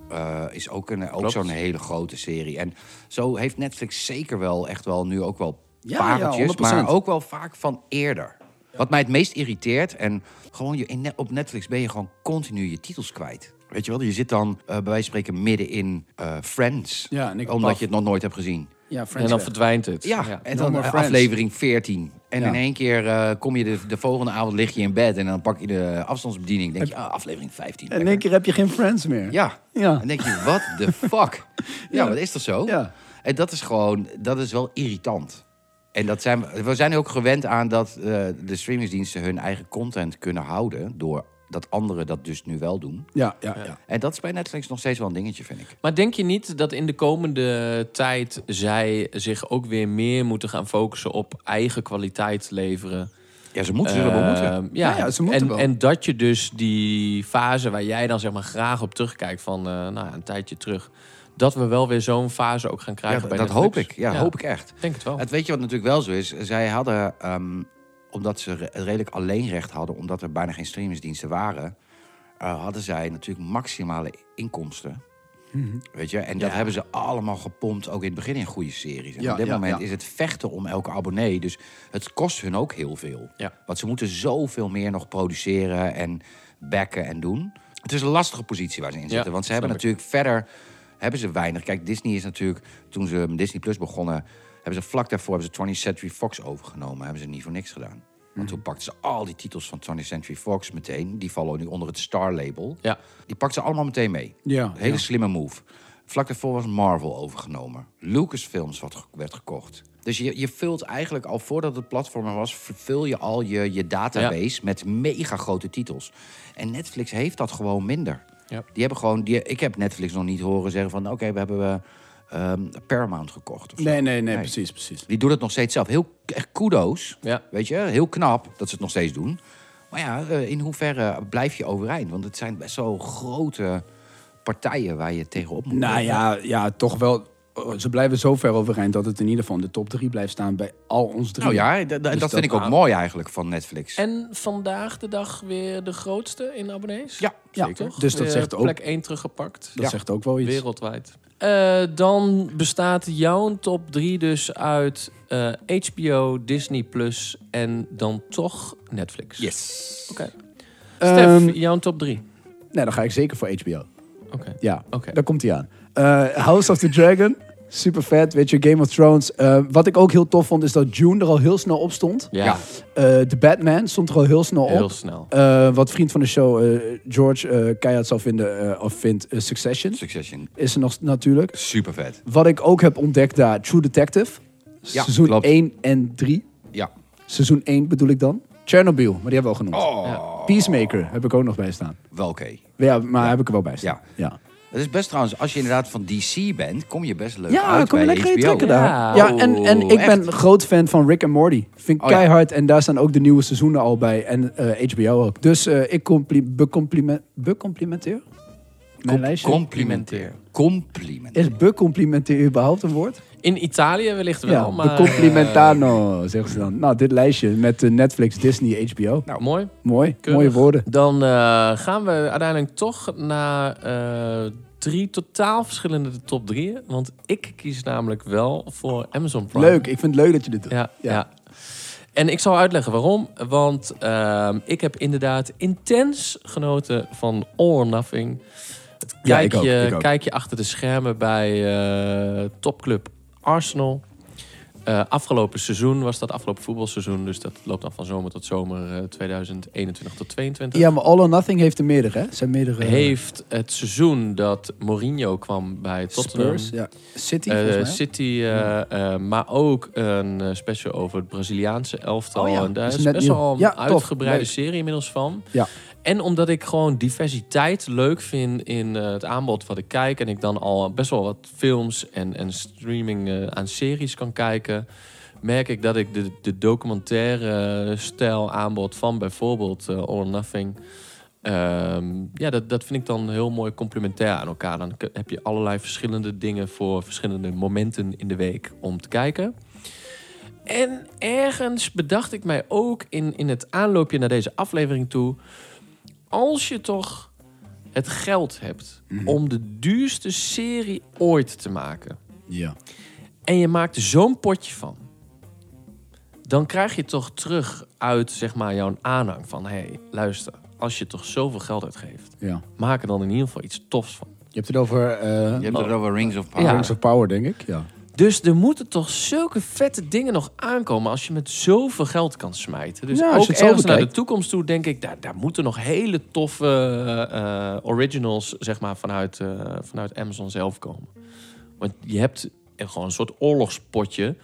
Speaker 5: eh, is ook, een, ook zo'n hele grote serie. En zo heeft Netflix zeker wel echt wel nu ook wel
Speaker 4: Ja, ja,
Speaker 5: pareltjes. maar
Speaker 4: 100%.
Speaker 5: ook wel vaak van eerder. Wat mij het meest irriteert, en gewoon je, in ne- op Netflix ben je gewoon continu je titels kwijt. Weet je wel, je zit dan eh, bij wijze van spreken midden in eh, Friends.
Speaker 4: Ja, en ik
Speaker 5: omdat
Speaker 4: paf.
Speaker 5: je het nog nooit hebt gezien.
Speaker 4: Ja,
Speaker 3: En
Speaker 4: Friends
Speaker 3: dan
Speaker 4: weg.
Speaker 3: verdwijnt het.
Speaker 5: Ja, en
Speaker 4: No
Speaker 5: dan
Speaker 4: more
Speaker 5: eh,
Speaker 4: Friends.
Speaker 5: aflevering 14. En
Speaker 4: Ja.
Speaker 5: in één keer eh, kom je de, de volgende avond lig je in bed en dan pak je de afstandsbediening. Denk je, ah, aflevering 15.
Speaker 4: En in één
Speaker 5: lekker.
Speaker 4: keer heb je geen friends meer.
Speaker 5: Ja.
Speaker 4: Ja.
Speaker 5: Dan denk je, what the fuck? Ja, maar dat is toch zo?
Speaker 4: Ja.
Speaker 5: En dat is gewoon, dat is wel irritant. En dat zijn, we- we zijn ook gewend aan dat eh, de streamingsdiensten hun eigen content kunnen houden... door dat anderen dat dus nu wel doen.
Speaker 4: Ja, ja, ja.
Speaker 5: En dat is bij Netflix nog steeds wel een dingetje, vind ik.
Speaker 3: Maar denk je niet dat in de komende tijd zij zich ook weer meer moeten gaan focussen op eigen kwaliteit leveren?
Speaker 5: Ja, ze moeten, zullen wel moeten.
Speaker 3: Ehm, ja,
Speaker 4: Ja, ja, ze moeten
Speaker 3: en,
Speaker 4: wel.
Speaker 3: en dat je dus die fase waar jij dan zeg maar graag op terugkijkt van eh, nou ja, een tijdje terug, dat we wel weer zo'n fase ook gaan
Speaker 5: Ja,
Speaker 3: krijgen.
Speaker 5: dat
Speaker 3: bij
Speaker 5: dat hoop
Speaker 3: Netflix.
Speaker 5: ik. Ja, hoop ik echt.
Speaker 3: Denk het wel.
Speaker 5: Het weet je wat natuurlijk wel zo is? Zij hadden, ehm, omdat ze re- redelijk alleenrecht hadden... omdat er bijna geen streamingsdiensten waren... eh, hadden zij natuurlijk maximale inkomsten.
Speaker 4: Mhm.
Speaker 5: Weet je? En dat hebben ze allemaal gepompt, ook in het begin in goede series. En
Speaker 4: Ja,
Speaker 5: op dit
Speaker 4: ja,
Speaker 5: moment
Speaker 4: ja.
Speaker 5: is het vechten om elke abonnee. Dus het kost hun ook heel veel.
Speaker 3: Ja.
Speaker 5: Want ze moeten zoveel meer nog produceren en backen en doen. Het is een lastige positie waar ze in zitten. want ze hebben
Speaker 3: snap ik.
Speaker 5: natuurlijk verder hebben ze weinig. Kijk, Disney is natuurlijk, toen ze met Disney Plus begonnen, hebben ze vlak daarvoor hebben ze 20th Century Fox overgenomen. Hebben ze niet voor niks gedaan. Want
Speaker 3: Mhm.
Speaker 5: toen pakten ze al die titels van 20th Century Fox meteen. Die vallen nu onder het Star-label.
Speaker 3: Ja.
Speaker 5: Die pakten ze allemaal meteen mee.
Speaker 4: Ja,
Speaker 5: Hele
Speaker 4: ja.
Speaker 5: slimme move. Vlak daarvoor was Marvel overgenomen. Lucasfilms wat ge- werd gekocht. Dus je, je vult eigenlijk al voordat het platform er was, v- vul je al je, je database met mega grote titels. En Netflix heeft dat gewoon minder.
Speaker 3: Ja.
Speaker 5: Die hebben gewoon, die, ik heb Netflix nog niet horen zeggen van oké, we hebben eh, ehm, Paramount gekocht. of zo.
Speaker 4: Nee, nee, nee, precies, precies.
Speaker 5: Die doen het nog steeds zelf. Heel k- echt kudos.
Speaker 3: Ja.
Speaker 5: Weet je, heel knap dat ze het nog steeds doen. Maar ja, eh, in hoeverre blijf je overeind? Want het zijn best wel grote partijen waar je tegenop moet.
Speaker 4: Nou ja, ja, toch wel. oh, Ze blijven zo ver overeind dat het in ieder geval in de top 3 blijft staan bij al ons drie.
Speaker 5: Nou ja, d- d- dat
Speaker 4: Dus dat-
Speaker 5: vind ik ook mooi eigenlijk van Netflix.
Speaker 3: En vandaag de dag weer de grootste in abonnees.
Speaker 5: Ja,
Speaker 4: Ja,
Speaker 5: zeker.
Speaker 4: dus dat
Speaker 3: Weer
Speaker 4: zegt ook,
Speaker 3: Plek
Speaker 4: dat
Speaker 3: 1 teruggepakt.
Speaker 4: zegt ook wel iets.
Speaker 3: Wereldwijd. Eh, dan bestaat jouw top 3 dus uit eh, HBO, Disney Plus en dan toch Netflix.
Speaker 5: Yes.
Speaker 3: Oké. Stef,
Speaker 4: Ehm,
Speaker 3: jouw top 3.
Speaker 4: nee, dan ga ik zeker voor HBO.
Speaker 3: Oké.
Speaker 4: Ja,
Speaker 3: Oké.
Speaker 4: daar komt hij aan. Eh, House of the Dragon, super vet. Weet je, Game of Thrones. Eh, wat ik ook heel tof vond, is dat June er al heel snel op stond.
Speaker 3: Ja,
Speaker 5: Ja.
Speaker 4: Eh The Batman stond er al heel snel
Speaker 3: heel
Speaker 4: op.
Speaker 3: snel.
Speaker 4: Eh, wat vriend van de show eh, George eh keihard zal vinden eh, of vindt, eh, Succession
Speaker 5: Succession.
Speaker 4: is er nog natuurlijk.
Speaker 5: Super vet.
Speaker 4: Wat ik ook heb ontdekt daar, True Detective.
Speaker 5: Ja,
Speaker 4: seizoen
Speaker 5: klopt.
Speaker 4: 1 en 3.
Speaker 5: Ja.
Speaker 4: Seizoen 1 bedoel ik dan. Chernobyl, maar die hebben we al genoemd.
Speaker 5: Ja.
Speaker 4: Peacemaker heb ik ook nog bij staan.
Speaker 5: Wel oké.
Speaker 4: Ja, maar heb ik er wel bij staan. Ja, ja.
Speaker 5: Het is best trouwens, als je inderdaad van DC bent, kom je best leuk
Speaker 4: Ja,
Speaker 5: uit
Speaker 4: kom
Speaker 5: bij
Speaker 4: je lekker in
Speaker 5: HBO.
Speaker 4: trekken daar.
Speaker 3: Ja.
Speaker 4: Ja, en, en ik ben
Speaker 5: Echt?
Speaker 4: groot fan van Rick en Morty. Vind ik
Speaker 5: Oh, ja.
Speaker 4: keihard. En daar staan ook de nieuwe seizoenen al bij. En eh, HBO ook. Dus eh, ik compli becompliment becomplimenteer mijn lijstje.
Speaker 5: Complimenteer. Compliment.
Speaker 4: Is becomplimenteer überhaupt een woord?
Speaker 3: In Italië wellicht wel,
Speaker 4: ja,
Speaker 3: maar...
Speaker 4: becomplimentano, zeggen ze dan. Nou, dit lijstje met eh, Netflix, Disney, HBO.
Speaker 3: eh, mooi.
Speaker 4: Mooi,
Speaker 3: keurig.
Speaker 4: mooie woorden.
Speaker 3: Dan eh, gaan we uiteindelijk toch naar eh, drie totaal verschillende top drieën. Want ik kies namelijk wel voor Amazon Prime.
Speaker 4: Leuk, ik vind het leuk dat je dit doet.
Speaker 3: Ja, ja.
Speaker 4: Ja.
Speaker 3: En ik zal uitleggen waarom. Want ehm, ik heb inderdaad intens genoten van All or Nothing. Het
Speaker 4: Ja, ik
Speaker 3: kijkje,
Speaker 4: ook, ik ook.
Speaker 3: kijkje achter de schermen bij eh, topclub Arsenal. Eh, afgelopen seizoen was dat, afgelopen voetbalseizoen. Dus dat loopt dan van zomer tot zomer eh, 2021 tot 2022.
Speaker 4: Ja, maar All or Nothing heeft er meerdere, hè? Zijn meerdere... eh,
Speaker 3: Heeft het seizoen dat Mourinho kwam bij Tottenham...
Speaker 4: Spurs, ja. City,
Speaker 3: Eh,
Speaker 4: volgens mij.
Speaker 3: City, eh, eh, maar ook een eh, special over het Braziliaanse elftal.
Speaker 4: Oh ja,
Speaker 3: en daar
Speaker 4: dat
Speaker 3: is,
Speaker 4: is net
Speaker 3: best
Speaker 4: nieuw.
Speaker 3: wel een
Speaker 4: Ja, tof.
Speaker 3: uitgebreide
Speaker 4: Leuk.
Speaker 3: serie inmiddels van.
Speaker 4: Ja.
Speaker 3: En omdat ik gewoon diversiteit leuk vind in eh, het aanbod wat ik kijk... en ik dan al best wel wat films en, en streaming eh, aan series kan kijken... merk ik dat ik de, de documentaire eh, stijl aanbod van bijvoorbeeld eh, All or Nothing... Ehm, ja, dat, dat vind ik dan heel mooi complementair aan elkaar. Dan k- heb je allerlei verschillende dingen voor verschillende momenten in de week om te kijken. En ergens bedacht ik mij ook in, in het aanloopje naar deze aflevering toe. Als je toch het geld hebt om de duurste serie ooit te maken.
Speaker 4: Ja.
Speaker 3: En je maakt er zo'n potje van. Dan krijg je toch terug uit zeg maar, jouw aanhang van... hé, hey, luister, als je toch zoveel geld uitgeeft...
Speaker 4: ja.
Speaker 3: maak er dan in ieder geval iets tofs van.
Speaker 4: Je hebt het over eh
Speaker 5: Je hebt het over Rings of
Speaker 3: Ja.
Speaker 5: Power.
Speaker 4: Rings of Power, denk ik. Ja.
Speaker 3: Dus er moeten toch zulke vette dingen nog aankomen... als je met zoveel geld kan smijten. Dus
Speaker 4: Ja, als je
Speaker 3: ook
Speaker 4: het zo
Speaker 3: ergens naar de
Speaker 4: bekijkt.
Speaker 3: toekomst toe denk ik... daar, daar moeten nog hele toffe eh, eh, originals zeg maar, vanuit, eh, vanuit Amazon zelf komen. Want je hebt er gewoon een soort oorlogspotje...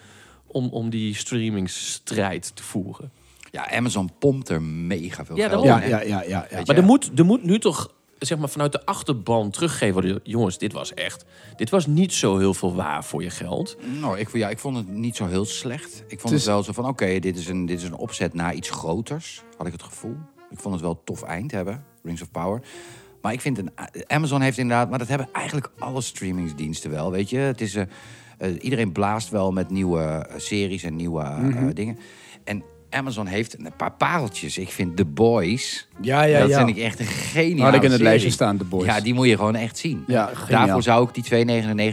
Speaker 3: om, om die streamingsstrijd te voeren.
Speaker 5: Ja, Amazon pompt er mega veel
Speaker 3: Ja,
Speaker 5: geld
Speaker 3: daarom.
Speaker 5: in.
Speaker 4: Ja,
Speaker 5: hè?
Speaker 4: ja, ja, ja. ja.
Speaker 3: Maar
Speaker 5: Ja.
Speaker 3: er moet, er moet nu toch zeg maar, vanuit de achterban teruggeven worden. Jongens, dit was echt. Dit was niet zo heel veel waar voor je geld.
Speaker 5: Nou, ik, ja, ik vond het niet zo heel slecht. Ik vond het,
Speaker 4: is-
Speaker 5: wel zo van, oké, dit, is een- dit is een opzet naar iets groters, had ik het gevoel. Ik vond het wel een tof eind hebben, Rings of Power. Maar ik vind, een, eh, Amazon heeft inderdaad, maar dat hebben eigenlijk alle streamingsdiensten wel, weet je. Het is, eh, eh, iedereen blaast wel met nieuwe eh, series en nieuwe eh,
Speaker 4: Mhm.
Speaker 5: dingen. En Amazon heeft een paar pareltjes. Ik vind The Boys,
Speaker 4: Ja, ja,
Speaker 5: dat
Speaker 4: ja.
Speaker 5: vind ik echt een geniaal.
Speaker 4: Had ik in het lijstje staan, The Boys.
Speaker 5: Ja, die moet je gewoon echt zien.
Speaker 4: Ja, geniaal.
Speaker 5: Daarvoor zou ik die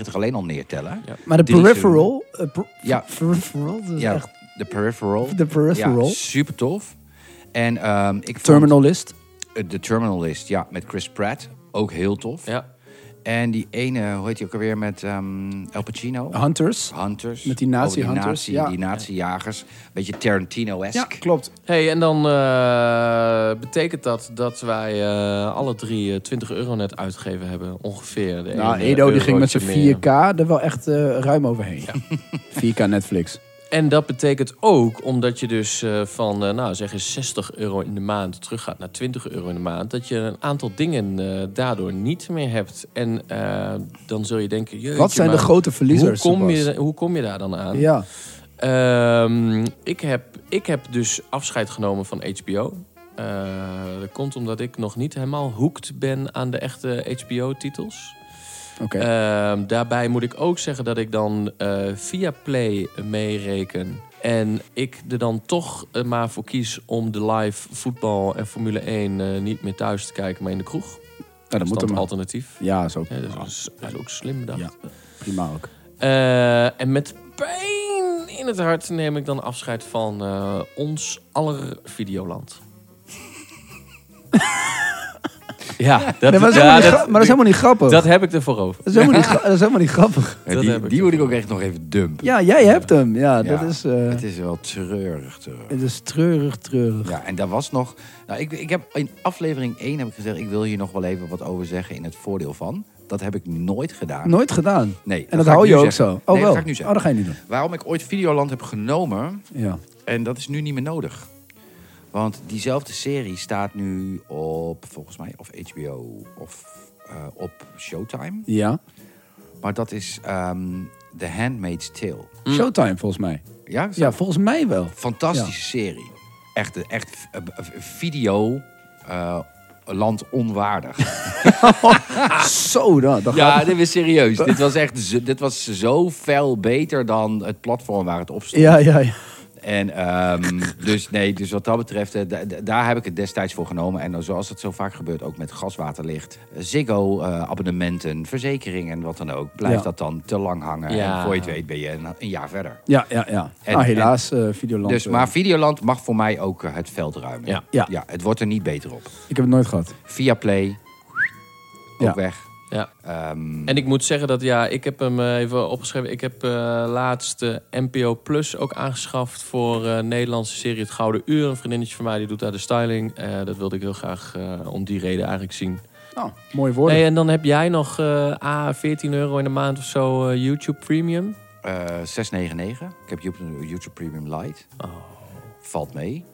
Speaker 5: 2,99 alleen al neertellen.
Speaker 4: Maar de
Speaker 5: Drie seizoenen.
Speaker 4: Peripheral... eh, per-
Speaker 5: Ja.
Speaker 4: Peripheral? dat is
Speaker 5: Ja,
Speaker 4: echt-
Speaker 5: de Peripheral.
Speaker 4: De Peripheral.
Speaker 5: Ja, super tof. En ehm, ik
Speaker 4: Terminalist.
Speaker 5: vond eh, de Terminalist, ja, met Chris Pratt. Ook heel tof.
Speaker 3: Ja.
Speaker 5: En die ene, hoe heet die ook alweer, met ehm Al Pacino?
Speaker 3: Ah,
Speaker 4: Hunters.
Speaker 5: Hunters.
Speaker 4: Met die nazi-hunters,
Speaker 5: Over Die, nazi,
Speaker 4: ja.
Speaker 5: die nazi-jagers. Beetje
Speaker 4: Ja,
Speaker 5: Tarantino-esque.
Speaker 4: klopt.
Speaker 3: hey, en dan eh, betekent dat dat wij eh, alle drie eh, 20 euro net uitgegeven hebben. Ongeveer. De
Speaker 4: Nou,
Speaker 3: ene
Speaker 4: Edo die ging met
Speaker 3: eurotje
Speaker 4: zijn
Speaker 3: meer.
Speaker 4: 4K er wel echt eh, ruim overheen. 4K Netflix.
Speaker 3: En dat betekent ook, omdat je dus eh, van, eh, nou zeg eens 60 euro in de maand terug gaat naar 20 euro in de maand, dat je een aantal dingen eh, daardoor niet meer hebt. En eh, dan zul je denken, jeetje,
Speaker 4: Wat zijn de
Speaker 3: maar
Speaker 4: grote verliezers?
Speaker 3: Hoe kom, je,
Speaker 4: Sebas?
Speaker 3: hoe kom je daar dan aan?
Speaker 4: Ja.
Speaker 3: Ehm, ik, heb, ik heb dus afscheid genomen van HBO. Eh, dat komt omdat ik nog niet helemaal hooked ben aan de echte HBO-titels.
Speaker 4: Oké.
Speaker 5: Eh,
Speaker 3: Ehm, daarbij moet ik ook zeggen dat ik dan eh via Play meereken. En ik er dan toch eh, maar voor kies om de live voetbal en Formule 1 eh, niet meer thuis te kijken, maar in de kroeg.
Speaker 4: nou, dat
Speaker 3: is
Speaker 4: moet
Speaker 3: dan
Speaker 4: hem.
Speaker 3: alternatief.
Speaker 4: Ja, zo.
Speaker 3: Ja, dat, is, dat is ook slim bedacht.
Speaker 4: Ja. Prima ook.
Speaker 3: Eh, en met pijn in het hart neem ik dan afscheid van eh, ons aller Videoland. Ja, dat,
Speaker 4: Nee, maar, dat is
Speaker 3: ja,
Speaker 4: helemaal niet
Speaker 3: dat-
Speaker 4: gra- maar dat is helemaal niet grappig.
Speaker 3: dat heb ik ervoor over.
Speaker 4: Dat is helemaal niet, gra- dat is helemaal niet grappig.
Speaker 5: Ja,
Speaker 3: Dat
Speaker 5: die
Speaker 3: heb ik
Speaker 5: die
Speaker 3: ook
Speaker 5: moet ik
Speaker 3: wel.
Speaker 5: ook echt nog even dumpen.
Speaker 4: Ja, jij hebt hem. Ja,
Speaker 5: Ja.
Speaker 4: dat is... eh,
Speaker 5: Het is wel treurig, treurig.
Speaker 4: het is treurig, treurig.
Speaker 5: Ja, en daar was nog... Nou, ik, ik heb in aflevering 1 heb ik gezegd... ik wil hier nog wel even wat over zeggen in het voordeel van. Dat heb ik nooit gedaan.
Speaker 4: Nooit gedaan.
Speaker 5: Nee,
Speaker 4: En
Speaker 5: dat
Speaker 4: dat
Speaker 5: ga ik
Speaker 4: hou je
Speaker 5: nu
Speaker 4: ook
Speaker 5: zeggen.
Speaker 4: zo.
Speaker 5: Nee,
Speaker 4: Oh,
Speaker 5: dat
Speaker 4: wel.
Speaker 5: ga ik nu zeggen.
Speaker 4: Oh, dat ga je niet doen.
Speaker 5: Waarom ik ooit Videoland heb genomen...
Speaker 4: Ja.
Speaker 5: En dat is nu niet meer nodig. Want diezelfde serie staat nu op, volgens mij, of HBO of eh, op Showtime.
Speaker 4: Ja.
Speaker 5: Maar dat is ehm, The Handmaid's Tale.
Speaker 4: Showtime, volgens mij.
Speaker 5: Ja? is
Speaker 4: Ja,
Speaker 5: dat-
Speaker 4: volgens mij wel.
Speaker 5: Fantastische serie. Echt, eh, echt eh, eh, video... eh, Land onwaardig.
Speaker 4: Zo, dat, dat
Speaker 5: Ah. Ja,
Speaker 4: gaat-
Speaker 5: dit was serieus. dit was echt zo, dit was zo veel beter dan het platform waar het op stond.
Speaker 4: ja, ja, ja.
Speaker 5: En ehm, dus nee, dus wat dat betreft, eh, da- da- daar heb ik het destijds voor genomen. En zoals het zo vaak gebeurt, ook met gas, water, licht, eh, Ziggo, eh, abonnementen, verzekeringen en wat dan ook. Blijft
Speaker 4: Ja.
Speaker 5: dat dan te lang hangen.
Speaker 3: Ja.
Speaker 5: En voor je het weet ben je een, een jaar verder.
Speaker 4: Ja, ja, ja.
Speaker 5: En-
Speaker 4: nou, helaas, eh Videoland.
Speaker 5: Dus,
Speaker 4: eh,
Speaker 5: maar Videoland mag voor mij ook eh, het veld ruimen.
Speaker 3: Ja.
Speaker 4: Ja.
Speaker 5: het wordt er niet beter op.
Speaker 4: ik heb het nooit gehad.
Speaker 5: Via Play, ook
Speaker 4: Ja.
Speaker 5: weg.
Speaker 3: Ja.
Speaker 5: Ehm,
Speaker 3: En ik moet zeggen dat ja, ik heb hem eh, even opgeschreven. Ik heb eh, laatst eh, NPO Plus ook aangeschaft voor eh, Nederlandse serie Het Gouden Uur. Een vriendinnetje van mij die doet daar de styling. Eh, dat wilde ik heel graag eh, om die reden eigenlijk zien.
Speaker 5: Oh,
Speaker 4: Nou, mooie woorden.
Speaker 3: Hey, en dan heb jij nog eh ah, 14 euro in de maand of zo eh, YouTube Premium.
Speaker 5: eh, 6,99. Ik heb YouTube, YouTube Premium Lite. Valt mee.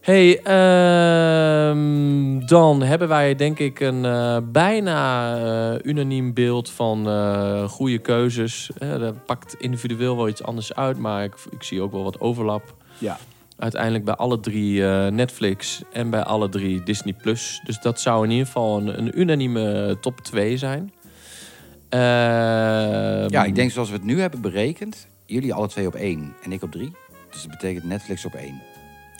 Speaker 3: Hey, ehm, dan hebben wij denk ik een eh, bijna eh, unaniem beeld van eh, goede keuzes. Eh, dat pakt individueel wel iets anders uit, maar ik, ik zie ook wel wat overlap.
Speaker 4: Ja.
Speaker 3: Uiteindelijk bij alle drie eh, Netflix en bij alle drie Disney+. Plus. Dus dat zou in ieder geval een, een unanieme eh, top 2 zijn. Ehm,
Speaker 5: Ja, ik denk zoals we het nu hebben berekend. Jullie alle twee op één en ik op drie. Dus dat betekent Netflix op één.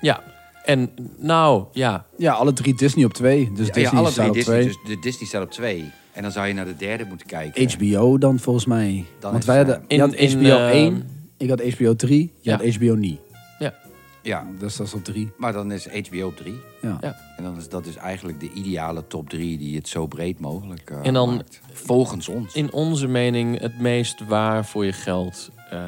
Speaker 3: Ja, en nou ja,
Speaker 4: ja, alle drie Disney op twee. Dus Disney
Speaker 5: alle
Speaker 4: staat
Speaker 5: drie
Speaker 4: op
Speaker 5: Disney.
Speaker 4: twee.
Speaker 5: Dus de Disney staat op twee. En dan zou je naar de derde moeten kijken.
Speaker 4: HBO dan volgens mij.
Speaker 5: Dan
Speaker 4: Want
Speaker 5: is,
Speaker 4: wij
Speaker 5: eh,
Speaker 4: hadden,
Speaker 3: in-
Speaker 4: je had
Speaker 3: in,
Speaker 4: HBO
Speaker 3: ehm,
Speaker 4: 1, ik had HBO 3, je
Speaker 3: Ja.
Speaker 4: had HBO niet.
Speaker 3: ja,
Speaker 5: Ja,
Speaker 4: Dus dat is op 3.
Speaker 5: maar dan is HBO op drie.
Speaker 4: Ja.
Speaker 3: ja.
Speaker 5: En dan is dat dus eigenlijk de ideale top drie die het zo breed mogelijk eh,
Speaker 3: En dan-
Speaker 5: maakt. Volgens ons.
Speaker 3: in onze mening het meest waar voor je geld. eh,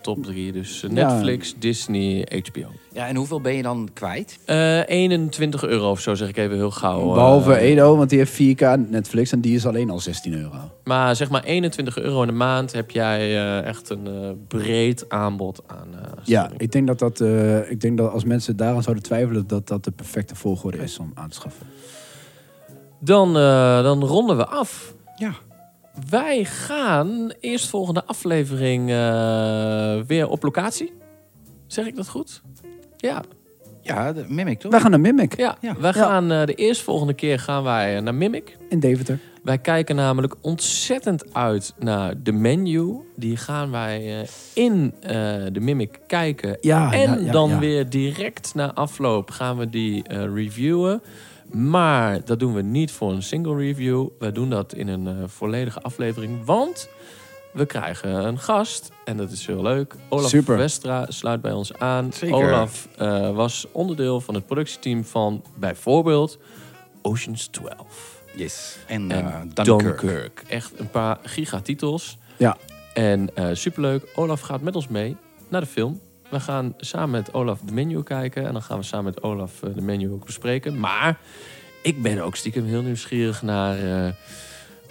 Speaker 3: top 3, dus eh, Netflix, Disney, HBO.
Speaker 5: Ja, en hoeveel ben je dan kwijt?
Speaker 3: Eh 21 euro of zo zeg ik even heel gauw. eh.
Speaker 4: Behalve Edo, want die heeft 4K Netflix en die is alleen al 16 euro.
Speaker 3: Maar zeg maar 21 euro in de maand heb jij eh, echt een eh, breed aanbod aan. eh,
Speaker 4: Ja,
Speaker 3: streaming.
Speaker 4: Dus ik denk dat, dat, eh, ik denk dat als mensen daaraan zouden twijfelen, dat dat de perfecte volgorde is om aan te schaffen.
Speaker 3: Dan, eh, dan ronden we af.
Speaker 5: Ja.
Speaker 3: Wij gaan eerst volgende aflevering eh, weer op locatie. Zeg ik dat goed? Ja,
Speaker 5: Ja, de Mimic toch?
Speaker 4: Wij gaan naar Mimic
Speaker 3: ja.
Speaker 5: Ja.
Speaker 3: wij
Speaker 4: Ja.
Speaker 3: gaan eh, de eerstvolgende keer gaan wij eh, naar Mimic.
Speaker 4: in Deventer.
Speaker 3: Wij kijken namelijk ontzettend uit naar de menu. Die gaan wij eh, in eh, de Mimic kijken.
Speaker 4: Ja,
Speaker 3: en
Speaker 4: ja, ja,
Speaker 3: dan
Speaker 4: ja.
Speaker 3: weer direct na afloop gaan we die eh, reviewen. Maar dat doen we niet voor een single review. We doen dat in een eh, volledige aflevering. Want we krijgen een gast. En dat is heel leuk. Olaf
Speaker 4: Super.
Speaker 3: Westra sluit bij ons aan.
Speaker 5: Zeker.
Speaker 3: Olaf eh, was onderdeel van het productieteam van bijvoorbeeld Oceans 12
Speaker 5: Yes. En,
Speaker 3: en
Speaker 5: eh
Speaker 3: Dunkirk.
Speaker 5: Dunkirk.
Speaker 3: Echt een paar gigatitels.
Speaker 4: Ja,
Speaker 3: En eh, superleuk. Olaf gaat met ons mee naar de film. We gaan samen met Olaf de menu kijken. En dan gaan we samen met Olaf eh, de menu ook bespreken. Maar ik ben ook stiekem heel nieuwsgierig naar eh,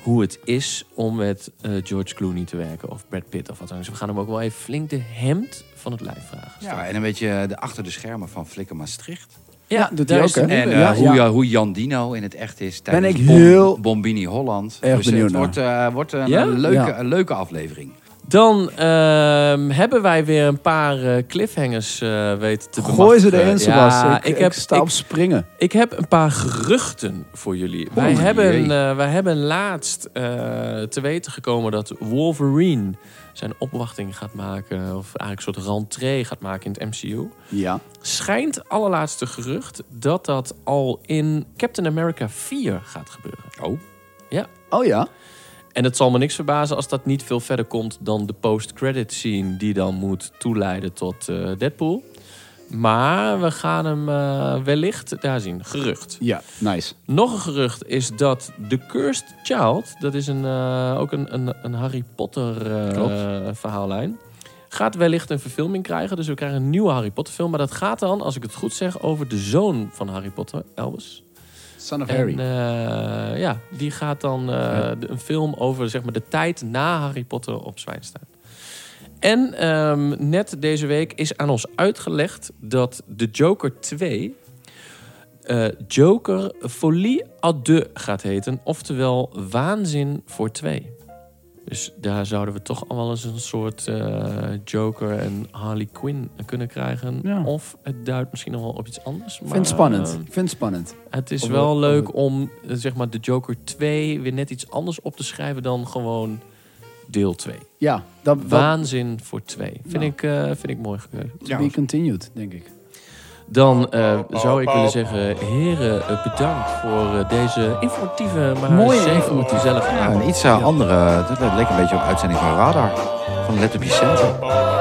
Speaker 3: hoe het is om met eh, George Clooney te werken. Of Brad Pitt of wat dan ook. Dus we gaan hem ook wel even flink de hemd van het lijf vragen.
Speaker 5: Ja, en een beetje de achter de schermen van Flikker Maastricht.
Speaker 4: Ja, doet hij
Speaker 3: daar is
Speaker 4: ook,
Speaker 3: hij
Speaker 4: hè?
Speaker 3: nu
Speaker 5: En
Speaker 3: bij.
Speaker 5: eh,
Speaker 4: Ja,
Speaker 5: hoe,
Speaker 4: ja.
Speaker 5: ja, hoe Jan Dino in het echt is tijdens
Speaker 4: ik heel
Speaker 5: Bombini Holland.
Speaker 4: erg
Speaker 5: dus eh,
Speaker 4: benieuwd
Speaker 5: het
Speaker 4: naar.
Speaker 5: wordt, eh, wordt een,
Speaker 3: Ja?
Speaker 5: een leuke,
Speaker 4: Ja.
Speaker 5: een leuke aflevering.
Speaker 3: Dan ehm, hebben wij weer een paar eh, cliffhangers eh, weten te
Speaker 4: gooi ze
Speaker 3: bemachtigen.
Speaker 4: erin, Sebas.
Speaker 3: Ja,
Speaker 4: ik, heb, sta
Speaker 3: ik-
Speaker 4: op springen.
Speaker 3: Ik heb een paar geruchten voor jullie. wij,
Speaker 5: jee.
Speaker 3: hebben, eh, wij hebben laatst eh, te weten gekomen dat Wolverine zijn opwachting gaat maken. Of eigenlijk een soort rentree gaat maken in het MCU.
Speaker 4: Ja.
Speaker 3: Schijnt allerlaatste gerucht dat dat al in Captain America 4 gaat gebeuren.
Speaker 5: Oh.
Speaker 3: Ja.
Speaker 4: Oh ja?
Speaker 3: En het zal me niks verbazen als dat niet veel verder komt dan de post-credit scene die dan moet toeleiden tot eh, Deadpool. Maar we gaan hem eh, wellicht daar zien. Gerucht.
Speaker 4: Ja, nice.
Speaker 3: Nog een gerucht is dat The Cursed Child, dat is een, eh, ook een, een, een Harry Potter eh, verhaallijn, gaat wellicht een verfilming krijgen. Dus we krijgen een nieuwe Harry Potter film. Maar dat gaat dan, als ik het goed zeg, over de zoon van Harry Potter, Elvis.
Speaker 4: Son of
Speaker 3: En eh, ja, die gaat dan eh, de- een film over zeg maar, de tijd na Harry Potter op Zwijnstein. En ehm, net deze week is aan ons uitgelegd dat de Joker 2 eh, Joker Folie à deux gaat heten. Oftewel Waanzin voor twee. Dus daar zouden we toch al wel eens een soort eh, Joker en Harley Quinn kunnen krijgen.
Speaker 4: Ja.
Speaker 3: Of het duidt misschien nog wel op iets anders.
Speaker 4: Ik
Speaker 3: Maar,
Speaker 4: vind het spannend.
Speaker 3: eh,
Speaker 4: Ik vind het spannend.
Speaker 3: het is
Speaker 4: Of
Speaker 3: wel
Speaker 4: we-
Speaker 3: leuk
Speaker 4: of
Speaker 3: om eh, zeg maar de Joker 2 weer net iets anders op te schrijven dan gewoon deel 2.
Speaker 4: Ja, dat, dat
Speaker 3: Waanzin voor 2. Vind,
Speaker 4: Nou.
Speaker 3: ik, eh, vind ik mooi gekeuze.
Speaker 4: to be continued, denk ik.
Speaker 3: Dan eh, zou ik willen zeggen, heren, eh, bedankt voor eh, deze informatieve, maar
Speaker 4: Mooie
Speaker 3: zeker ook
Speaker 4: informatieve.
Speaker 3: gezellige
Speaker 5: Ja,
Speaker 3: avond.
Speaker 5: een iets eh, andere. Dat leek een beetje op uitzending van Radar. Van Let It Be Center.